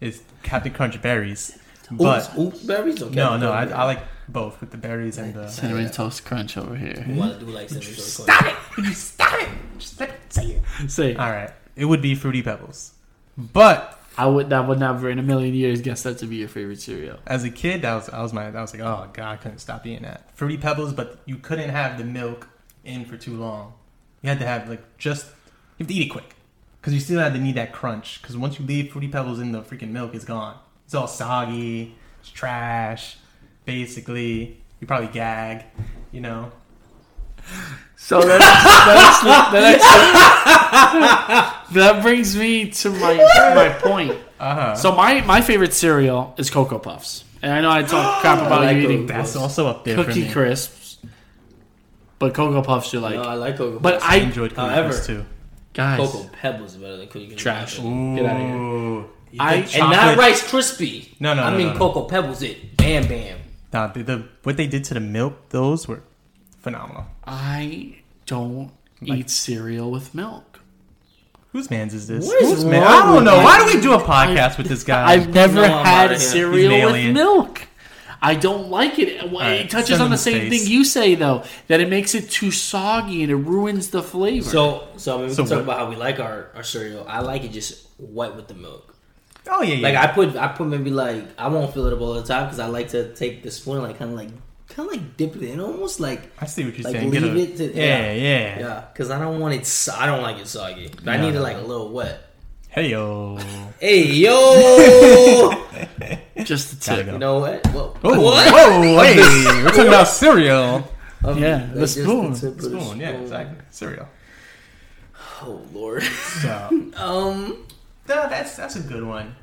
Speaker 2: Is Captain Crunch berries, but
Speaker 3: oops, oops, berries? Okay,
Speaker 2: no, no,
Speaker 3: okay.
Speaker 2: I, I like both with the berries and the.
Speaker 4: Cinnamon Toast Crunch over here.
Speaker 3: You wanna do like cinnamon toast crunch.
Speaker 2: Stop it! Would you stop it? Just let me say it.
Speaker 4: Say,
Speaker 2: All right, it would be Fruity Pebbles, but
Speaker 4: I would that would never in a million years guess that to be your favorite cereal.
Speaker 2: as a kid, that was I was my that was like oh god, I couldn't stop eating that Fruity Pebbles, but you couldn't have the milk in for too long. You had to have like just you have to eat it quick because you still had to need that crunch because once you leave Fruity Pebbles in the freaking milk, it's gone. It's all soggy, it's trash. Basically, you probably gag, you know.
Speaker 4: So that that, actually, that, actually, that brings me to my my point.
Speaker 2: Uh huh.
Speaker 4: So my my favorite cereal is Cocoa Puffs, and I know I talk crap about
Speaker 3: like
Speaker 4: you eating
Speaker 2: That's also up there for
Speaker 4: Cookie
Speaker 2: me.
Speaker 4: Crisps, but Cocoa Puffs you're like,
Speaker 3: No, I like Cocoa
Speaker 4: but
Speaker 3: Puffs.
Speaker 2: I
Speaker 4: I
Speaker 2: enjoyed Cookie
Speaker 3: However-
Speaker 2: Crisps too.
Speaker 4: guys
Speaker 3: Cocoa Pebbles is better than Cookie Crisp.
Speaker 4: trash. Get
Speaker 2: Ooh.
Speaker 4: out of here.
Speaker 2: You
Speaker 4: I-
Speaker 2: think
Speaker 4: and
Speaker 3: And
Speaker 2: chocolate-
Speaker 3: not Rice Krispie.
Speaker 2: No, no,
Speaker 3: I
Speaker 2: no,
Speaker 3: mean
Speaker 2: no, no.
Speaker 3: Cocoa Pebbles. It bam bam.
Speaker 2: Nah, the, the what they did to the milk, those were phenomenal.
Speaker 4: I don't eat cereal with milk.
Speaker 2: Whose man's is this?
Speaker 3: What is
Speaker 2: Whose man?
Speaker 3: wrong
Speaker 2: I don't
Speaker 3: with
Speaker 2: know.
Speaker 3: you?
Speaker 2: Why do we do a podcast with this guy?
Speaker 4: I've never
Speaker 3: No, I'm
Speaker 4: had
Speaker 3: outta here.
Speaker 2: He's an
Speaker 4: cereal with
Speaker 2: alien.
Speaker 4: milk. I don't like it. It- it
Speaker 2: right,
Speaker 4: touches
Speaker 2: send
Speaker 4: on
Speaker 2: him
Speaker 4: the
Speaker 2: to
Speaker 4: same
Speaker 2: space.
Speaker 4: thing you say though, that it makes it too soggy and it ruins the flavor.
Speaker 3: So, so I mean, we
Speaker 2: So
Speaker 3: can talk
Speaker 2: what-
Speaker 3: about how we like our, our cereal. I like it just wet with the milk.
Speaker 2: oh yeah, yeah.
Speaker 3: Like I put, I put maybe like I won't fill it up all the time because I like to take the spoon, and, like kind of like, kind of like dip it in, almost like,
Speaker 2: I see what you're
Speaker 3: like
Speaker 2: saying.
Speaker 3: leave
Speaker 2: Get a-
Speaker 3: it to
Speaker 2: yeah, yeah.
Speaker 3: yeah. Because I don't want it, so- I don't like it soggy. But I
Speaker 2: No,
Speaker 3: need it
Speaker 2: no.
Speaker 3: like a little wet.
Speaker 2: Hey yo.
Speaker 3: Hey yo,
Speaker 4: just the
Speaker 2: Gotta
Speaker 4: tip.
Speaker 2: go.
Speaker 3: you know what? Whoa.
Speaker 2: Oh,
Speaker 3: What?
Speaker 2: Whoa, hey, we're talking about cereal.
Speaker 3: Um,
Speaker 4: Yeah,
Speaker 3: that's just
Speaker 4: the spoon.
Speaker 3: tip of the
Speaker 2: Spoon, yeah,
Speaker 3: spoon.
Speaker 2: exactly. Cereal.
Speaker 3: Oh lord.
Speaker 2: So,
Speaker 3: um,
Speaker 2: no, that's that's a good one.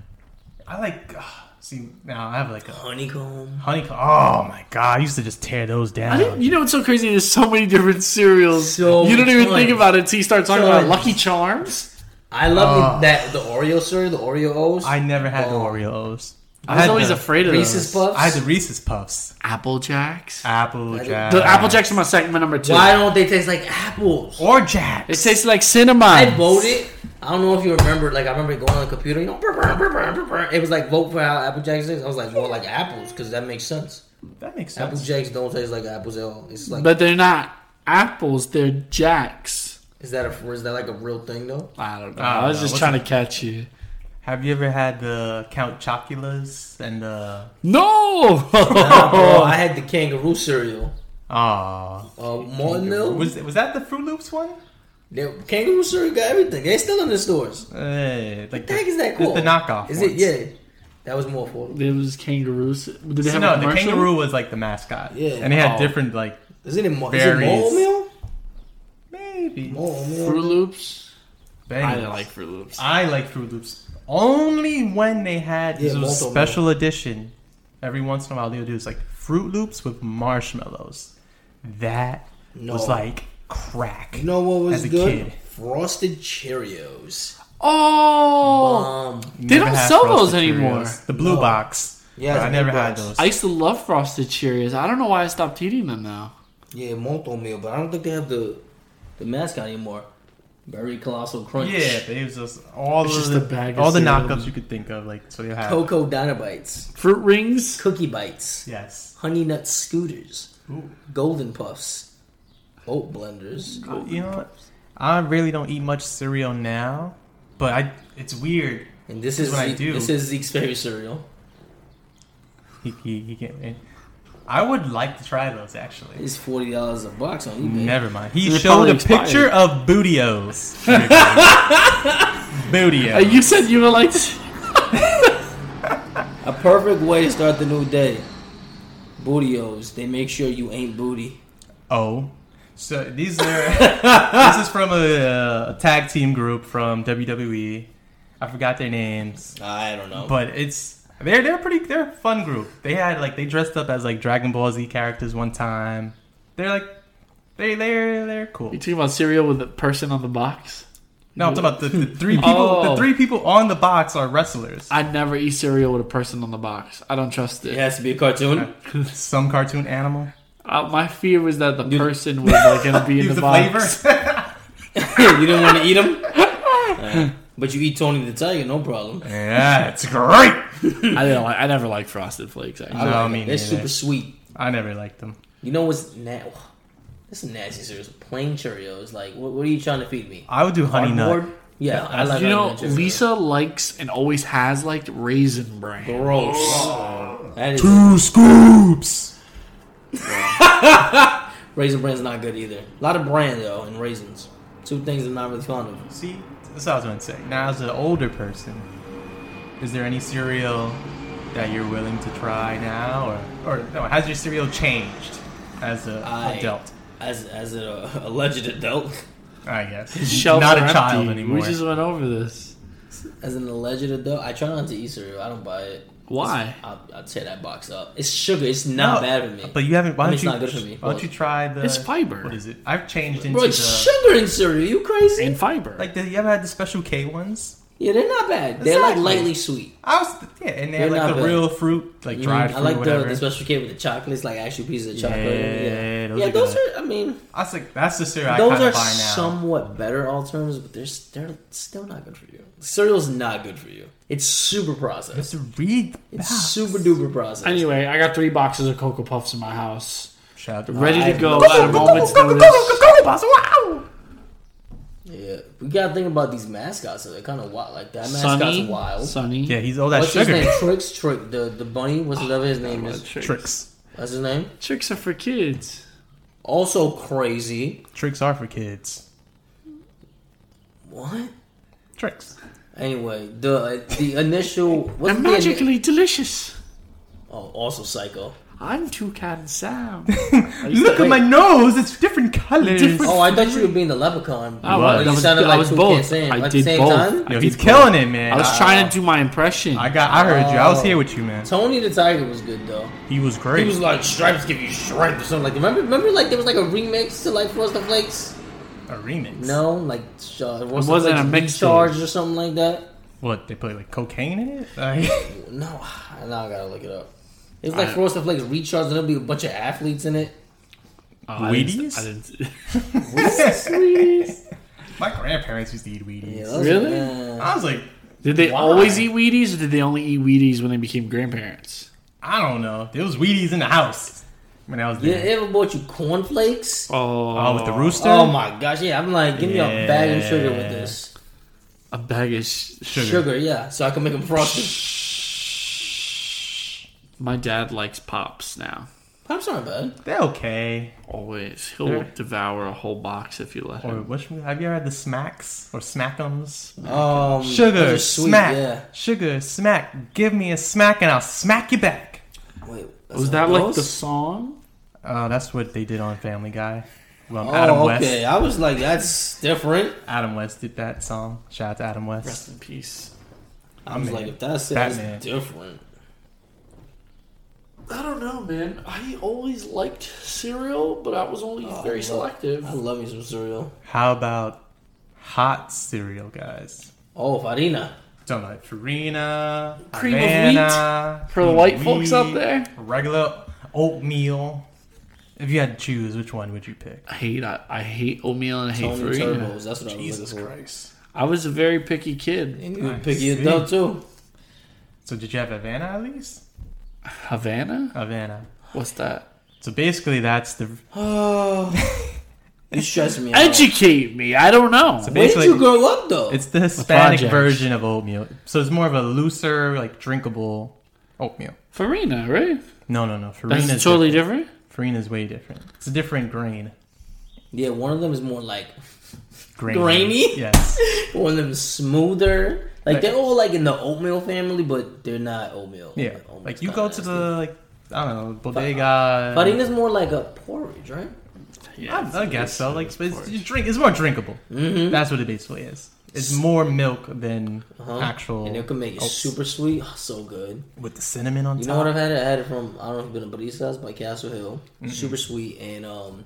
Speaker 2: I like. ah, see, now I have like a
Speaker 3: honeycomb.
Speaker 2: honeycomb. Oh my god, I used to just tear those
Speaker 4: I
Speaker 2: down.
Speaker 4: didn't- you know what's so crazy? There's so many different cereals.
Speaker 3: So
Speaker 4: you don't even
Speaker 3: much.
Speaker 4: think about it until you start talking
Speaker 3: So
Speaker 4: about
Speaker 3: much.
Speaker 4: Lucky Charms.
Speaker 3: I love
Speaker 2: Oh.
Speaker 3: that the Oreo cereal, the Oreo O's.
Speaker 2: I never had the
Speaker 3: Oh.
Speaker 2: Oreos.
Speaker 4: I was
Speaker 2: had
Speaker 4: always
Speaker 2: the-
Speaker 4: afraid of
Speaker 3: Reese's
Speaker 4: those.
Speaker 3: Puffs.
Speaker 2: I had the Reese's Ah. Puffs,
Speaker 4: Apple Jacks.
Speaker 2: Apple
Speaker 3: did-
Speaker 2: Jacks,
Speaker 4: The Apple Jacks are my second my number two.
Speaker 3: Why don't they taste like apples?
Speaker 2: or Jacks.
Speaker 4: It tastes like cinnamon.
Speaker 3: I voted. I don't know if you remember. Like I remember going on the computer. You know, brr, brr, brr, brr, brr, brr. it was like vote for how Apple Jacks is. I was like, well, like apples because that makes sense.
Speaker 2: that makes sense.
Speaker 3: Apple Jacks don't taste like apples at all. It's like,
Speaker 4: but they're not apples. They're Jacks.
Speaker 3: is that a is that like a real thing though?
Speaker 4: I don't know.
Speaker 2: I
Speaker 4: I,
Speaker 2: don't
Speaker 4: was
Speaker 2: know.
Speaker 4: just
Speaker 2: What's
Speaker 4: trying to catch you.
Speaker 2: Have you ever had the Count Choculas and the
Speaker 4: No.
Speaker 2: Oh.
Speaker 3: Nah, bro, I had the kangaroo cereal.
Speaker 2: ah?
Speaker 3: Uh, Morton Mill.
Speaker 2: was was that the Fruit Loops one?
Speaker 3: They- Kangaroo cereal got everything. They still in the stores.
Speaker 2: Eh, like
Speaker 3: The heck is that
Speaker 2: the-
Speaker 3: called?
Speaker 2: The knockoff.
Speaker 3: Is
Speaker 2: ones.
Speaker 3: it? Yeah. That was more for.
Speaker 4: it was kangaroos. Did they
Speaker 2: So
Speaker 4: have a
Speaker 2: no, the
Speaker 4: commercial?
Speaker 2: kangaroo was like the mascot.
Speaker 3: Yeah.
Speaker 2: And they had
Speaker 4: Oh.
Speaker 2: different like
Speaker 3: Isn't it? Oh, Mo- is it Mole
Speaker 2: Berries.
Speaker 3: Mill?
Speaker 2: maybe.
Speaker 3: Mole
Speaker 4: Fruit
Speaker 3: Mill.
Speaker 4: Loops. I
Speaker 2: Bangers.
Speaker 4: didn't like Fruit Loops.
Speaker 2: I like Fruit Loops only when they had
Speaker 3: Yeah,
Speaker 2: this was
Speaker 3: multiple.
Speaker 2: special edition. Every once in a while they would do this like Fruit Loops with marshmallows. That
Speaker 3: No.
Speaker 2: was like crack.
Speaker 3: You know what was
Speaker 2: as a
Speaker 3: good?
Speaker 2: kid.
Speaker 3: Frosted Cheerios.
Speaker 4: oh,
Speaker 3: Um,
Speaker 4: They
Speaker 2: Never
Speaker 4: don't
Speaker 2: had
Speaker 4: sell those
Speaker 2: Frosted
Speaker 4: anymore.
Speaker 2: Cheerios. The blue
Speaker 3: No.
Speaker 2: box.
Speaker 3: Yeah,
Speaker 2: Yeah,
Speaker 3: the
Speaker 2: I never
Speaker 3: Blue
Speaker 2: had
Speaker 3: Box.
Speaker 2: those.
Speaker 4: I used to love frosted Cheerios. I don't know why I stopped eating them now.
Speaker 3: yeah, Monto meal, but I don't think they have the the mascot anymore. Very colossal crunch.
Speaker 2: yeah, they was just all
Speaker 4: It's
Speaker 2: of
Speaker 4: just
Speaker 2: the,
Speaker 4: a bag of
Speaker 2: all the
Speaker 4: cereal.
Speaker 2: knockups you could think of. Like so, you have
Speaker 3: Cocoa Dynabites,
Speaker 4: Fruit rings.
Speaker 3: Cookie Bites,
Speaker 2: yes.
Speaker 3: Honey Nut Scooters,
Speaker 2: Ooh.
Speaker 3: Golden Puffs, Oat Blenders.
Speaker 2: You know, what? I really don't eat much cereal now, but I it's weird.
Speaker 3: And this
Speaker 2: This
Speaker 3: is
Speaker 2: is what I
Speaker 3: Ze-
Speaker 2: do.
Speaker 3: this is Zeke's favorite cereal.
Speaker 2: He, he, he can't. and I would like to try those actually.
Speaker 3: It's forty dollars a box on eBay.
Speaker 2: Never mind. He
Speaker 4: They're
Speaker 2: showed
Speaker 4: probably
Speaker 2: a picture
Speaker 4: expired.
Speaker 2: of bootios. bootios.
Speaker 4: Uh, you said you were like.
Speaker 3: A perfect way to start the new day. Bootios. They make sure you ain't booty.
Speaker 2: Oh. So these are. this is from a, a tag team group from WWE. I forgot their names,
Speaker 3: I don't know.
Speaker 2: but it's they're they're pretty they're a fun group. They had like they dressed up as like Dragon Ball Z characters one time. They're like they they're they're cool.
Speaker 4: You talking about cereal with the person on the box?
Speaker 2: No, I'm talking about the, the three people.
Speaker 4: Oh.
Speaker 2: The three people on the box are wrestlers.
Speaker 4: I never eat cereal with a person on the box. I don't trust it.
Speaker 3: it has to be a cartoon.
Speaker 2: Some cartoon animal.
Speaker 4: Uh, my fear was that the person was like gonna be in
Speaker 2: Use
Speaker 4: the,
Speaker 2: the
Speaker 4: box.
Speaker 2: flavor.
Speaker 3: you didn't want to eat them, but you eat Tony the Tiger, no problem.
Speaker 2: yeah, it's great.
Speaker 4: I didn't. Like, I never liked Frosted Flakes. Actually.
Speaker 2: No,
Speaker 3: Like,
Speaker 2: me
Speaker 3: they're
Speaker 2: neither.
Speaker 3: super sweet.
Speaker 2: I never liked them.
Speaker 3: You know what's na- This is nasty cereal. Plain Cheerios. Like, what, what are you trying to feed me?
Speaker 2: I would do honey nut.
Speaker 3: Cardboard? Yeah, I like
Speaker 4: you know,
Speaker 3: Honey Nut Cheerios.
Speaker 4: Lisa likes and always has liked raisin bran.
Speaker 3: Gross. That is,
Speaker 2: Two scoops.
Speaker 3: Raisin Bran's not good either. A lot of bran though, and raisins. Two things I'm not really fond of.
Speaker 2: See, that's what I was going to say. Now, as an older person, is there any cereal that you're willing to try now, or or no? Has your cereal changed as an
Speaker 3: I-
Speaker 2: adult?
Speaker 3: As as a alleged adult,
Speaker 2: I guess
Speaker 4: Shelves
Speaker 2: not
Speaker 4: are
Speaker 2: a child
Speaker 4: empty.
Speaker 2: anymore.
Speaker 4: We just went over this.
Speaker 3: as an alleged adult, I try not to eat cereal. I don't buy it.
Speaker 4: Why?
Speaker 3: I'll, I'll tear that box up. It's sugar. It's not
Speaker 2: No,
Speaker 3: bad for me.
Speaker 2: But you haven't. Why
Speaker 3: I mean,
Speaker 2: don't
Speaker 3: it's
Speaker 2: you?
Speaker 3: not good for me,
Speaker 2: Why don't
Speaker 3: but-
Speaker 2: you try the?
Speaker 4: It's fiber.
Speaker 2: What is it? I've changed into
Speaker 3: Bro,
Speaker 2: the
Speaker 3: it's sugar in cereal. You crazy?
Speaker 4: And fiber.
Speaker 2: like. The, you ever had the Special K ones?
Speaker 3: Yeah, they're not bad. They're like
Speaker 2: Exactly.
Speaker 3: lightly sweet.
Speaker 2: I was yeah, and they
Speaker 3: They're
Speaker 2: have like
Speaker 3: not
Speaker 2: the
Speaker 3: bad.
Speaker 2: real fruit, like dried
Speaker 3: Mhm. I
Speaker 2: fruit,
Speaker 3: like
Speaker 2: whatever.
Speaker 3: the, the special kid with the chocolates, like actual pieces of chocolate.
Speaker 2: Yeah,
Speaker 3: Yeah,
Speaker 2: those
Speaker 3: yeah,
Speaker 2: are
Speaker 3: those
Speaker 2: good.
Speaker 3: are. I mean,
Speaker 2: I was like, that's the cereal I
Speaker 3: those
Speaker 2: kind
Speaker 3: are
Speaker 2: of buy now.
Speaker 3: somewhat better alternatives, but they're s- they're still not good for you. Cereal's not good for you. It's super processed.
Speaker 2: It's a read.
Speaker 3: It's super duper processed.
Speaker 4: Anyway, I got three boxes of Cocoa Puffs in my house,
Speaker 2: Shout out to
Speaker 4: ready to
Speaker 3: Uh, I-
Speaker 4: go at a moment's notice.
Speaker 2: Wow.
Speaker 3: Yeah, we gotta think about these mascots. So they're kind of wild. Like that mascot's
Speaker 4: Sunny,
Speaker 3: wild.
Speaker 4: Sunny.
Speaker 2: Yeah, he's all that
Speaker 3: What's his
Speaker 2: sugar. Ah,
Speaker 3: name? Tricks, Trick, the the bunny. What's whatever his name is.
Speaker 4: Tricks.
Speaker 2: Tricks.
Speaker 3: What's his name?
Speaker 4: Tricks are for kids.
Speaker 3: Also crazy.
Speaker 2: Tricks are for kids.
Speaker 3: What?
Speaker 2: Tricks.
Speaker 3: Anyway, the the initial. What's
Speaker 4: They're
Speaker 3: the ini-
Speaker 4: magically delicious.
Speaker 3: oh, also psycho.
Speaker 4: I'm too cat and sound.
Speaker 2: Look at my nose. It's different colors.
Speaker 4: Different-
Speaker 3: Oh, I thought you were being the leprechaun.
Speaker 4: I was.
Speaker 3: You
Speaker 4: I was-
Speaker 3: sounded
Speaker 4: I
Speaker 3: like
Speaker 4: was
Speaker 3: two
Speaker 4: both.
Speaker 3: kids saying,
Speaker 4: I
Speaker 3: at the
Speaker 4: did
Speaker 3: same
Speaker 4: both.
Speaker 3: time.
Speaker 2: Yo,
Speaker 4: I
Speaker 2: he's
Speaker 4: did
Speaker 2: killing it, man.
Speaker 4: I
Speaker 2: I,
Speaker 4: was trying to do my impression.
Speaker 2: I got. I heard you. I was here with you, man.
Speaker 3: Tony the Tiger was good though.
Speaker 2: He was great.
Speaker 3: Oh. He was like stripes give you stripes or something like. Remember, remember like there was like a remix to like Frosted Flakes.
Speaker 2: a remix.
Speaker 3: No, like uh, it
Speaker 4: wasn't a mixtape.
Speaker 3: Recharged or something like that.
Speaker 2: What they put like cocaine in it? Like,
Speaker 3: No, now I gotta look it up. It's like
Speaker 4: I-
Speaker 3: Frosted Flakes recharge, and there'll be a bunch of athletes in it.
Speaker 4: Oh, I didn't-
Speaker 2: Wheaties?
Speaker 4: I didn't,
Speaker 2: my grandparents used to eat Wheaties.
Speaker 3: Yeah, those-
Speaker 4: Really?
Speaker 3: yeah.
Speaker 2: I was like,
Speaker 4: did they
Speaker 2: Why?
Speaker 4: always eat Wheaties, or did they only eat Wheaties when they became grandparents?
Speaker 2: I don't know. There was Wheaties in the house when I was
Speaker 3: You
Speaker 2: there.
Speaker 3: ever bought you cornflakes?
Speaker 4: Oh,
Speaker 2: Oh, with the rooster.
Speaker 3: Oh my gosh, yeah. I'm like, give me a bag of sugar with
Speaker 2: Yeah.
Speaker 3: this.
Speaker 4: a bag of sh-
Speaker 2: Sugar.
Speaker 3: Sugar, yeah, so I can make them frosted.
Speaker 4: My dad likes pops now.
Speaker 3: Pops aren't bad.
Speaker 2: They're okay.
Speaker 4: Always, he'll
Speaker 2: They're-
Speaker 4: devour a whole box if you let
Speaker 2: Or
Speaker 4: him.
Speaker 2: which have you ever had the smacks or smackums?
Speaker 3: Um, those
Speaker 2: Sugar,
Speaker 3: are sweet,
Speaker 2: smack,
Speaker 3: Yeah.
Speaker 2: sugar, smack. Give me a smack and I'll smack you back.
Speaker 3: Wait, that's
Speaker 4: Was
Speaker 3: not
Speaker 4: that like the
Speaker 3: those?
Speaker 4: song?
Speaker 2: Uh, that's what they did on Family Guy. Well,
Speaker 3: Oh,
Speaker 2: Adam
Speaker 3: okay.
Speaker 2: West.
Speaker 3: I was like, that's different.
Speaker 2: Adam West did that song. Shout out to Adam West.
Speaker 4: Rest in peace.
Speaker 3: I was
Speaker 2: I'm
Speaker 3: like,
Speaker 2: in.
Speaker 3: if that's it, that's
Speaker 2: Batman.
Speaker 3: different.
Speaker 4: I don't know, man. I always liked cereal, but I was only
Speaker 3: I
Speaker 4: very
Speaker 3: love-
Speaker 4: selective.
Speaker 3: I love me some cereal.
Speaker 2: How about hot cereal, guys?
Speaker 3: Oh, farina.
Speaker 2: Don't know, Farina,
Speaker 4: Cream of
Speaker 2: Havana,
Speaker 4: For the
Speaker 2: cream of
Speaker 4: white folks out
Speaker 2: wheat,
Speaker 4: there?
Speaker 2: regular oatmeal. If you had to choose, which one would you pick?
Speaker 4: I hate I, I hate oatmeal and I hate
Speaker 3: Tony
Speaker 4: Farina.
Speaker 3: Turbos. That's what I was looking for.
Speaker 4: I was a very picky kid.
Speaker 3: And you would
Speaker 2: I
Speaker 3: pick your
Speaker 2: see.
Speaker 3: adult too.
Speaker 2: So did you have Havana at least?
Speaker 4: Havana?
Speaker 2: Havana.
Speaker 4: What's that?
Speaker 2: So basically, that's the
Speaker 3: Oh, you stress me out.
Speaker 4: Educate me. I don't know.
Speaker 2: so
Speaker 3: Where did
Speaker 2: basically
Speaker 3: you grow up though?
Speaker 2: it's the Hispanic
Speaker 4: project.
Speaker 2: version of oatmeal. So it's more of a looser, like drinkable oatmeal.
Speaker 4: Farina, right?
Speaker 2: No, no, no. Farina's
Speaker 4: That's totally
Speaker 2: different.
Speaker 4: different.
Speaker 2: Farina's way different. It's a different grain.
Speaker 3: yeah, one of them is more like,
Speaker 2: Grainy.
Speaker 3: Grainy?
Speaker 2: Yes.
Speaker 3: one of them is smoother. Like they're all like in the oatmeal family, but they're not oatmeal.
Speaker 2: Yeah.
Speaker 3: Oatmeal's
Speaker 2: Like you go to
Speaker 3: kinda Oh nasty.
Speaker 2: the like I don't know bodega.
Speaker 3: Farina's more like a porridge, right?
Speaker 4: Yeah,
Speaker 2: I, I guess so. Like it's,
Speaker 4: porridge.
Speaker 2: it's drink. It's more drinkable.
Speaker 3: Mm-hmm.
Speaker 2: That's what it basically is. It's more milk than actual.
Speaker 3: Uh-huh. And it can make it
Speaker 2: oats.
Speaker 3: super sweet. Oh, so good.
Speaker 2: with the cinnamon on
Speaker 3: You
Speaker 2: top.
Speaker 3: know what I've had? I had it from I don't know if it's been a Barista's by Castle Hill.
Speaker 2: Mm-hmm.
Speaker 3: Super sweet and um,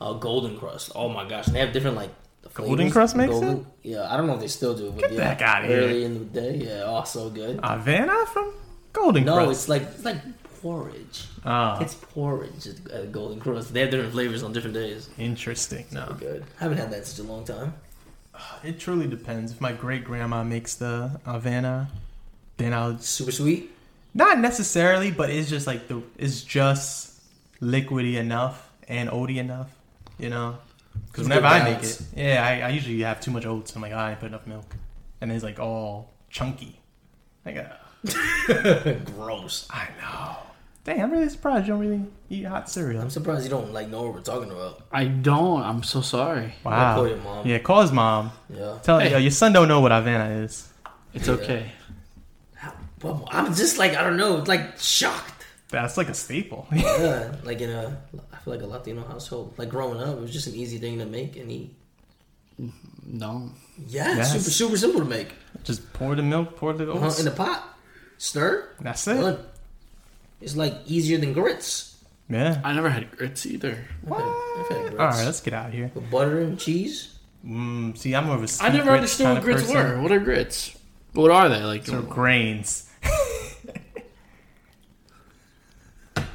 Speaker 3: uh, golden crust. Oh my gosh, and they have different like
Speaker 2: Golden
Speaker 3: flavors.
Speaker 2: Crust makes it?
Speaker 3: Yeah, I don't know if they still do. But Get yeah,
Speaker 2: the heck outta here.
Speaker 3: Early in the day, yeah, oh so good.
Speaker 2: Havana from Golden
Speaker 3: no,
Speaker 2: Crust.
Speaker 3: it's like it's like porridge.
Speaker 2: Ah.
Speaker 3: It's porridge at Golden Crust. They have different flavors on different days.
Speaker 2: Interesting. No,
Speaker 3: Good. I haven't had that in such a long time.
Speaker 2: it truly depends. If my great grandma makes the Havana, then I'll
Speaker 3: Super sweet.
Speaker 2: not necessarily, but it's just like the it's just liquidy enough and oaty enough, you know. Because
Speaker 3: It's
Speaker 2: whenever
Speaker 3: good
Speaker 2: I make
Speaker 3: balance.
Speaker 2: it, yeah, I, I usually have too much oats. I'm like, "Oh, I didn't put enough milk, and it's like all chunky. Like, uh,
Speaker 3: Gross.
Speaker 2: I know. Dang, I'm really surprised you don't really eat hot cereal.
Speaker 3: I'm surprised you don't like know what we're talking about.
Speaker 4: I don't. I'm so sorry.
Speaker 2: Wow.
Speaker 3: Call your mom.
Speaker 2: Yeah, call his mom.
Speaker 3: Yeah.
Speaker 2: Tell
Speaker 4: Hey.
Speaker 2: yo, your son don't know what Havana is.
Speaker 4: It's okay.
Speaker 3: But I'm just like I don't know. Like shocked.
Speaker 2: That's like a staple.
Speaker 3: Yeah, like in a, I feel like a Latino household. Like growing up, it was just an easy thing to make and eat.
Speaker 4: No.
Speaker 3: Yeah,
Speaker 2: Yes.
Speaker 3: super super simple to make.
Speaker 2: just pour the milk, pour the
Speaker 3: Huh,
Speaker 2: oats.
Speaker 3: In a pot, stir.
Speaker 2: That's it.
Speaker 3: Done. It's like easier than grits.
Speaker 2: Yeah.
Speaker 4: I never had grits either.
Speaker 3: What? I've had grits.
Speaker 2: All right, let's get out of here.
Speaker 3: With butter and cheese.
Speaker 2: Mm, see, I'm more of a.
Speaker 4: I
Speaker 2: sweet
Speaker 4: never
Speaker 2: grits
Speaker 4: understood
Speaker 2: kinda
Speaker 4: what grits
Speaker 2: person.
Speaker 4: were. What are grits? What are they like?
Speaker 2: So grains.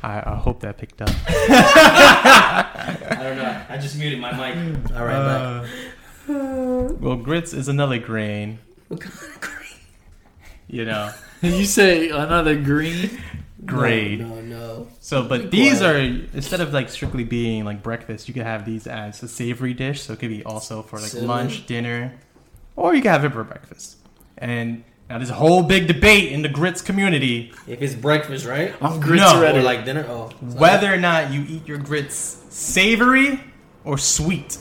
Speaker 2: I, I hope that picked up.
Speaker 3: I don't know. I just muted my mic. All right, back.
Speaker 2: Well, grits is another grain.
Speaker 3: What kind of green?
Speaker 2: You know,
Speaker 4: you say another green?
Speaker 2: grade.
Speaker 3: No, no.
Speaker 2: So, but these are instead of like strictly being like breakfast, you could have these as a savory dish. So it could be also for like
Speaker 3: Cinnamon.
Speaker 2: lunch, dinner, or you could have it for breakfast. And now there's a whole big debate in the grits community
Speaker 3: If it's breakfast, right?
Speaker 4: I'm grits
Speaker 2: No.
Speaker 4: ready.
Speaker 3: Or like dinner? Oh,
Speaker 2: whether or not you eat your grits savory or sweet.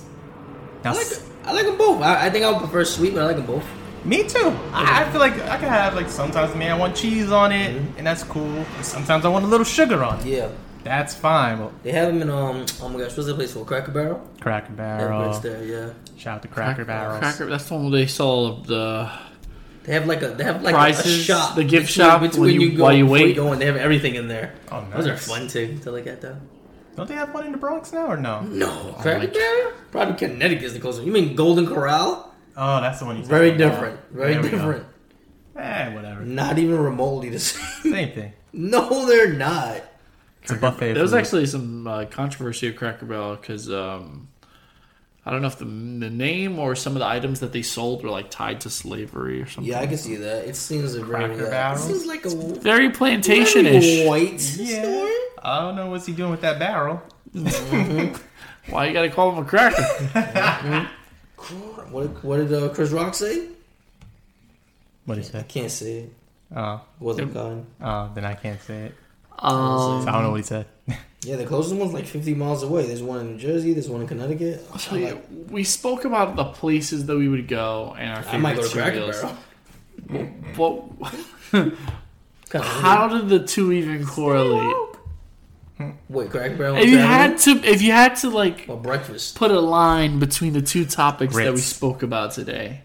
Speaker 2: Now,
Speaker 3: I like
Speaker 2: s-
Speaker 3: I like them both. I, I think I would prefer sweet, but I like them both.
Speaker 2: me too. I, I feel like I can have like sometimes, man, I want cheese on it,
Speaker 3: Mm-hmm.
Speaker 2: and that's cool. And sometimes I want a little sugar on it.
Speaker 3: Yeah,
Speaker 2: That's fine. Well,
Speaker 3: they have them in um. Oh my gosh, what's the place called? Cracker Barrel.
Speaker 2: Cracker
Speaker 4: Uh,
Speaker 3: They have grits
Speaker 2: Barrel.
Speaker 3: there, yeah.
Speaker 2: Shout out to Cracker Barrels.
Speaker 4: Cracker, that's the one where they sell the.
Speaker 3: They have like a they have like a
Speaker 4: Prices,
Speaker 3: shop,
Speaker 4: the gift shop when you- while you
Speaker 3: before
Speaker 4: wait.
Speaker 3: go in, they have everything in there.
Speaker 2: Oh,
Speaker 3: Those are
Speaker 2: nice.
Speaker 3: fun too to look at though.
Speaker 2: Don't they have one in the Bronx now or no?
Speaker 3: No, Cracker Barrel, probably Connecticut's the closest. You mean Golden Corral?
Speaker 2: Oh, that's the one. you
Speaker 3: Very different, very different.
Speaker 2: Eh, whatever.
Speaker 3: Not even remotely the same.
Speaker 2: Same thing.
Speaker 3: no, they're not.
Speaker 2: It's a buffet.
Speaker 4: There was
Speaker 2: food.
Speaker 4: actually some uh, controversy at Cracker Barrel because um, I don't know if the, the name or some of the items that they sold were like tied to slavery or something.
Speaker 3: Yeah, I can see that. It seems a very.
Speaker 2: Cracker
Speaker 3: uh, it
Speaker 2: Barrel?
Speaker 3: seems like a
Speaker 4: Very plantation
Speaker 3: very
Speaker 4: ish.
Speaker 3: white
Speaker 2: Yeah.
Speaker 3: store.
Speaker 2: I don't know what's he doing with that barrel.
Speaker 4: Why you gotta call them a cracker?
Speaker 3: What did, what did uh, Chris Rock say?
Speaker 2: What is
Speaker 3: I
Speaker 2: that?
Speaker 3: can't say it.
Speaker 2: Oh,
Speaker 3: Wasn't gone.
Speaker 2: oh, then I can't say it.
Speaker 4: um,
Speaker 2: So I don't know what he said.
Speaker 3: Yeah, the closest one's like 50 miles away. There's one in New Jersey. There's one in Connecticut. I
Speaker 4: so yeah, we spoke about the places that we would go and our favorite
Speaker 3: I might go to Cracker
Speaker 4: cereals.
Speaker 3: Barrel.
Speaker 4: But
Speaker 3: Kinda
Speaker 4: how did the two even correlate?
Speaker 3: Wait, Cracker Barrel.
Speaker 4: If you had to, if you had to like
Speaker 3: well, breakfast.
Speaker 4: put a line between the two topics that we
Speaker 2: Grits.
Speaker 4: spoke about today,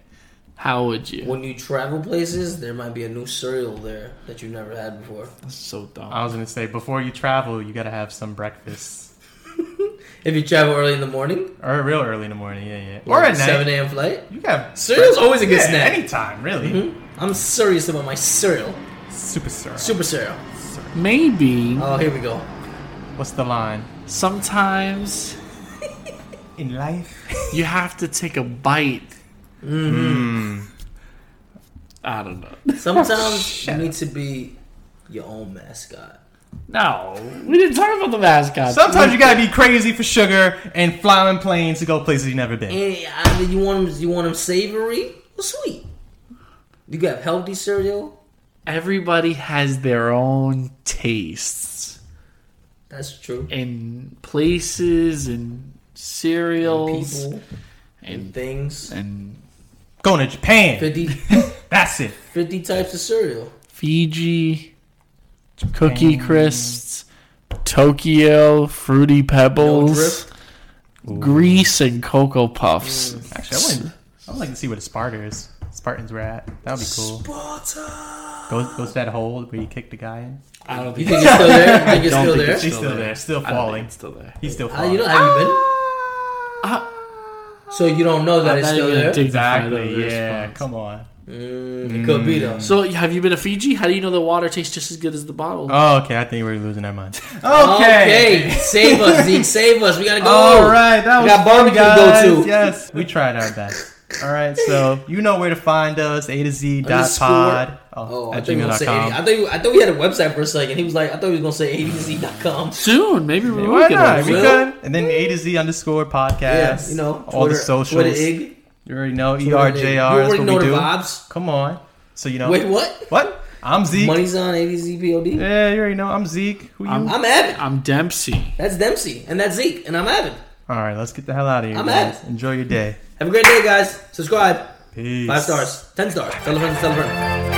Speaker 4: how would you?
Speaker 3: When you travel places, there might be a new cereal there that you never had before.
Speaker 4: That's so dumb.
Speaker 2: I was gonna say before you travel, you gotta have some breakfast,
Speaker 3: If you travel early in the morning,
Speaker 2: or real early in the morning. Yeah, yeah.
Speaker 3: or
Speaker 2: Or at
Speaker 3: a seven
Speaker 2: night.
Speaker 3: a.m. flight,
Speaker 2: You got
Speaker 3: Cereal's always a good
Speaker 2: yeah,
Speaker 3: snack. Mm-hmm.
Speaker 2: Anytime, really.
Speaker 3: I'm serious about my cereal,
Speaker 2: Super syrup.
Speaker 3: super cereal.
Speaker 4: Maybe
Speaker 3: Oh, here we go.
Speaker 2: What's the line?
Speaker 4: sometimes
Speaker 2: In life,
Speaker 4: you have to take a bite.
Speaker 3: Mm-hmm.
Speaker 4: I don't know.
Speaker 3: Sometimes you need to be your own mascot.
Speaker 4: No, we didn't talk about the mascot.
Speaker 2: sometimes you gotta be crazy for sugar and flying planes to go places you never been.
Speaker 3: And either you want them, you want them savory or sweet. You got healthy cereal.
Speaker 4: Everybody has their own tastes
Speaker 3: That's true.
Speaker 4: and places and cereals
Speaker 3: People,
Speaker 4: and
Speaker 3: things,
Speaker 4: and
Speaker 2: Going to Japan.
Speaker 3: 50,
Speaker 2: That's it.
Speaker 3: 50 types of cereal.
Speaker 4: Fiji, Cookie Crisps, Tokyo, Fruity Pebbles, Grease, and Cocoa Puffs.
Speaker 2: Actually, I wouldn't. I would like to see where the Spartans, Spartans were at. That would be cool.
Speaker 3: Sparta.
Speaker 2: Goes goes that hole where you kick the guy in.
Speaker 4: I don't
Speaker 3: You think it's still there? You think it's
Speaker 4: Don't
Speaker 3: still
Speaker 4: think
Speaker 3: there?
Speaker 4: it's-
Speaker 2: He's still there, still
Speaker 4: I don't think
Speaker 2: falling. Uh,
Speaker 4: it's still there.
Speaker 2: He's still
Speaker 3: Ah,
Speaker 2: falling.
Speaker 3: you don't have you been? So you don't know that
Speaker 4: I'm
Speaker 3: it's
Speaker 4: Ah, not
Speaker 3: still
Speaker 4: even
Speaker 3: there.
Speaker 4: dignified over
Speaker 2: Exactly.
Speaker 4: this
Speaker 2: Yeah.
Speaker 4: part.
Speaker 2: Come on.
Speaker 3: It could be though.
Speaker 4: So have you been to Fiji? How do you know the water tastes just as good as the bottle?
Speaker 2: Oh, okay. I think we're losing our mind. Okay.
Speaker 3: Okay, save us, Zeke. Save us. We gotta go.
Speaker 2: All Oh, right. That
Speaker 3: Oh, We
Speaker 2: was
Speaker 3: got
Speaker 2: fun,
Speaker 3: barbecue to go
Speaker 2: guys.
Speaker 3: to.
Speaker 2: Yes, we tried our best. All right. So you know where to find us. A to Z dot
Speaker 3: Underscore-
Speaker 2: pod.
Speaker 3: Oh,
Speaker 2: Oh,
Speaker 3: I
Speaker 2: at
Speaker 3: thought, you were gonna say 80. I,
Speaker 2: gmail.com.
Speaker 3: thought you, I thought we had a website for a second. He was like, I thought he was gonna say adz.com.
Speaker 4: Soon, maybe we
Speaker 2: Why
Speaker 4: will get
Speaker 2: not?
Speaker 4: on
Speaker 2: We
Speaker 4: it.
Speaker 3: Will?
Speaker 2: could. And then A to Z underscore podcast.
Speaker 3: Yeah, you know,
Speaker 2: all the
Speaker 3: Twitter-
Speaker 2: socials.
Speaker 3: Twitter ig, Twitter
Speaker 2: You already know E
Speaker 3: ig. You
Speaker 2: ERJR. That's
Speaker 3: already
Speaker 2: what
Speaker 3: know
Speaker 2: we
Speaker 3: the
Speaker 2: do.
Speaker 3: vibes.
Speaker 2: Come on. So you know.
Speaker 3: Wait, what?
Speaker 2: What? I'm Zeke.
Speaker 3: Money's on ADZPOD.
Speaker 2: Yeah, you already know. I'm Zeke. Who you?
Speaker 4: I'm-
Speaker 3: I'm Avid.
Speaker 4: I'm Dempsey.
Speaker 3: That's Dempsey, and that's Zeke, and I'm Avid.
Speaker 2: All right, let's get the hell out of here,
Speaker 3: I'm
Speaker 2: guys.
Speaker 3: out.
Speaker 2: Enjoy your day.
Speaker 3: Have a great day, guys. Subscribe.
Speaker 2: Peace.
Speaker 3: Five stars, ten stars. Tell a friend, tell a friend.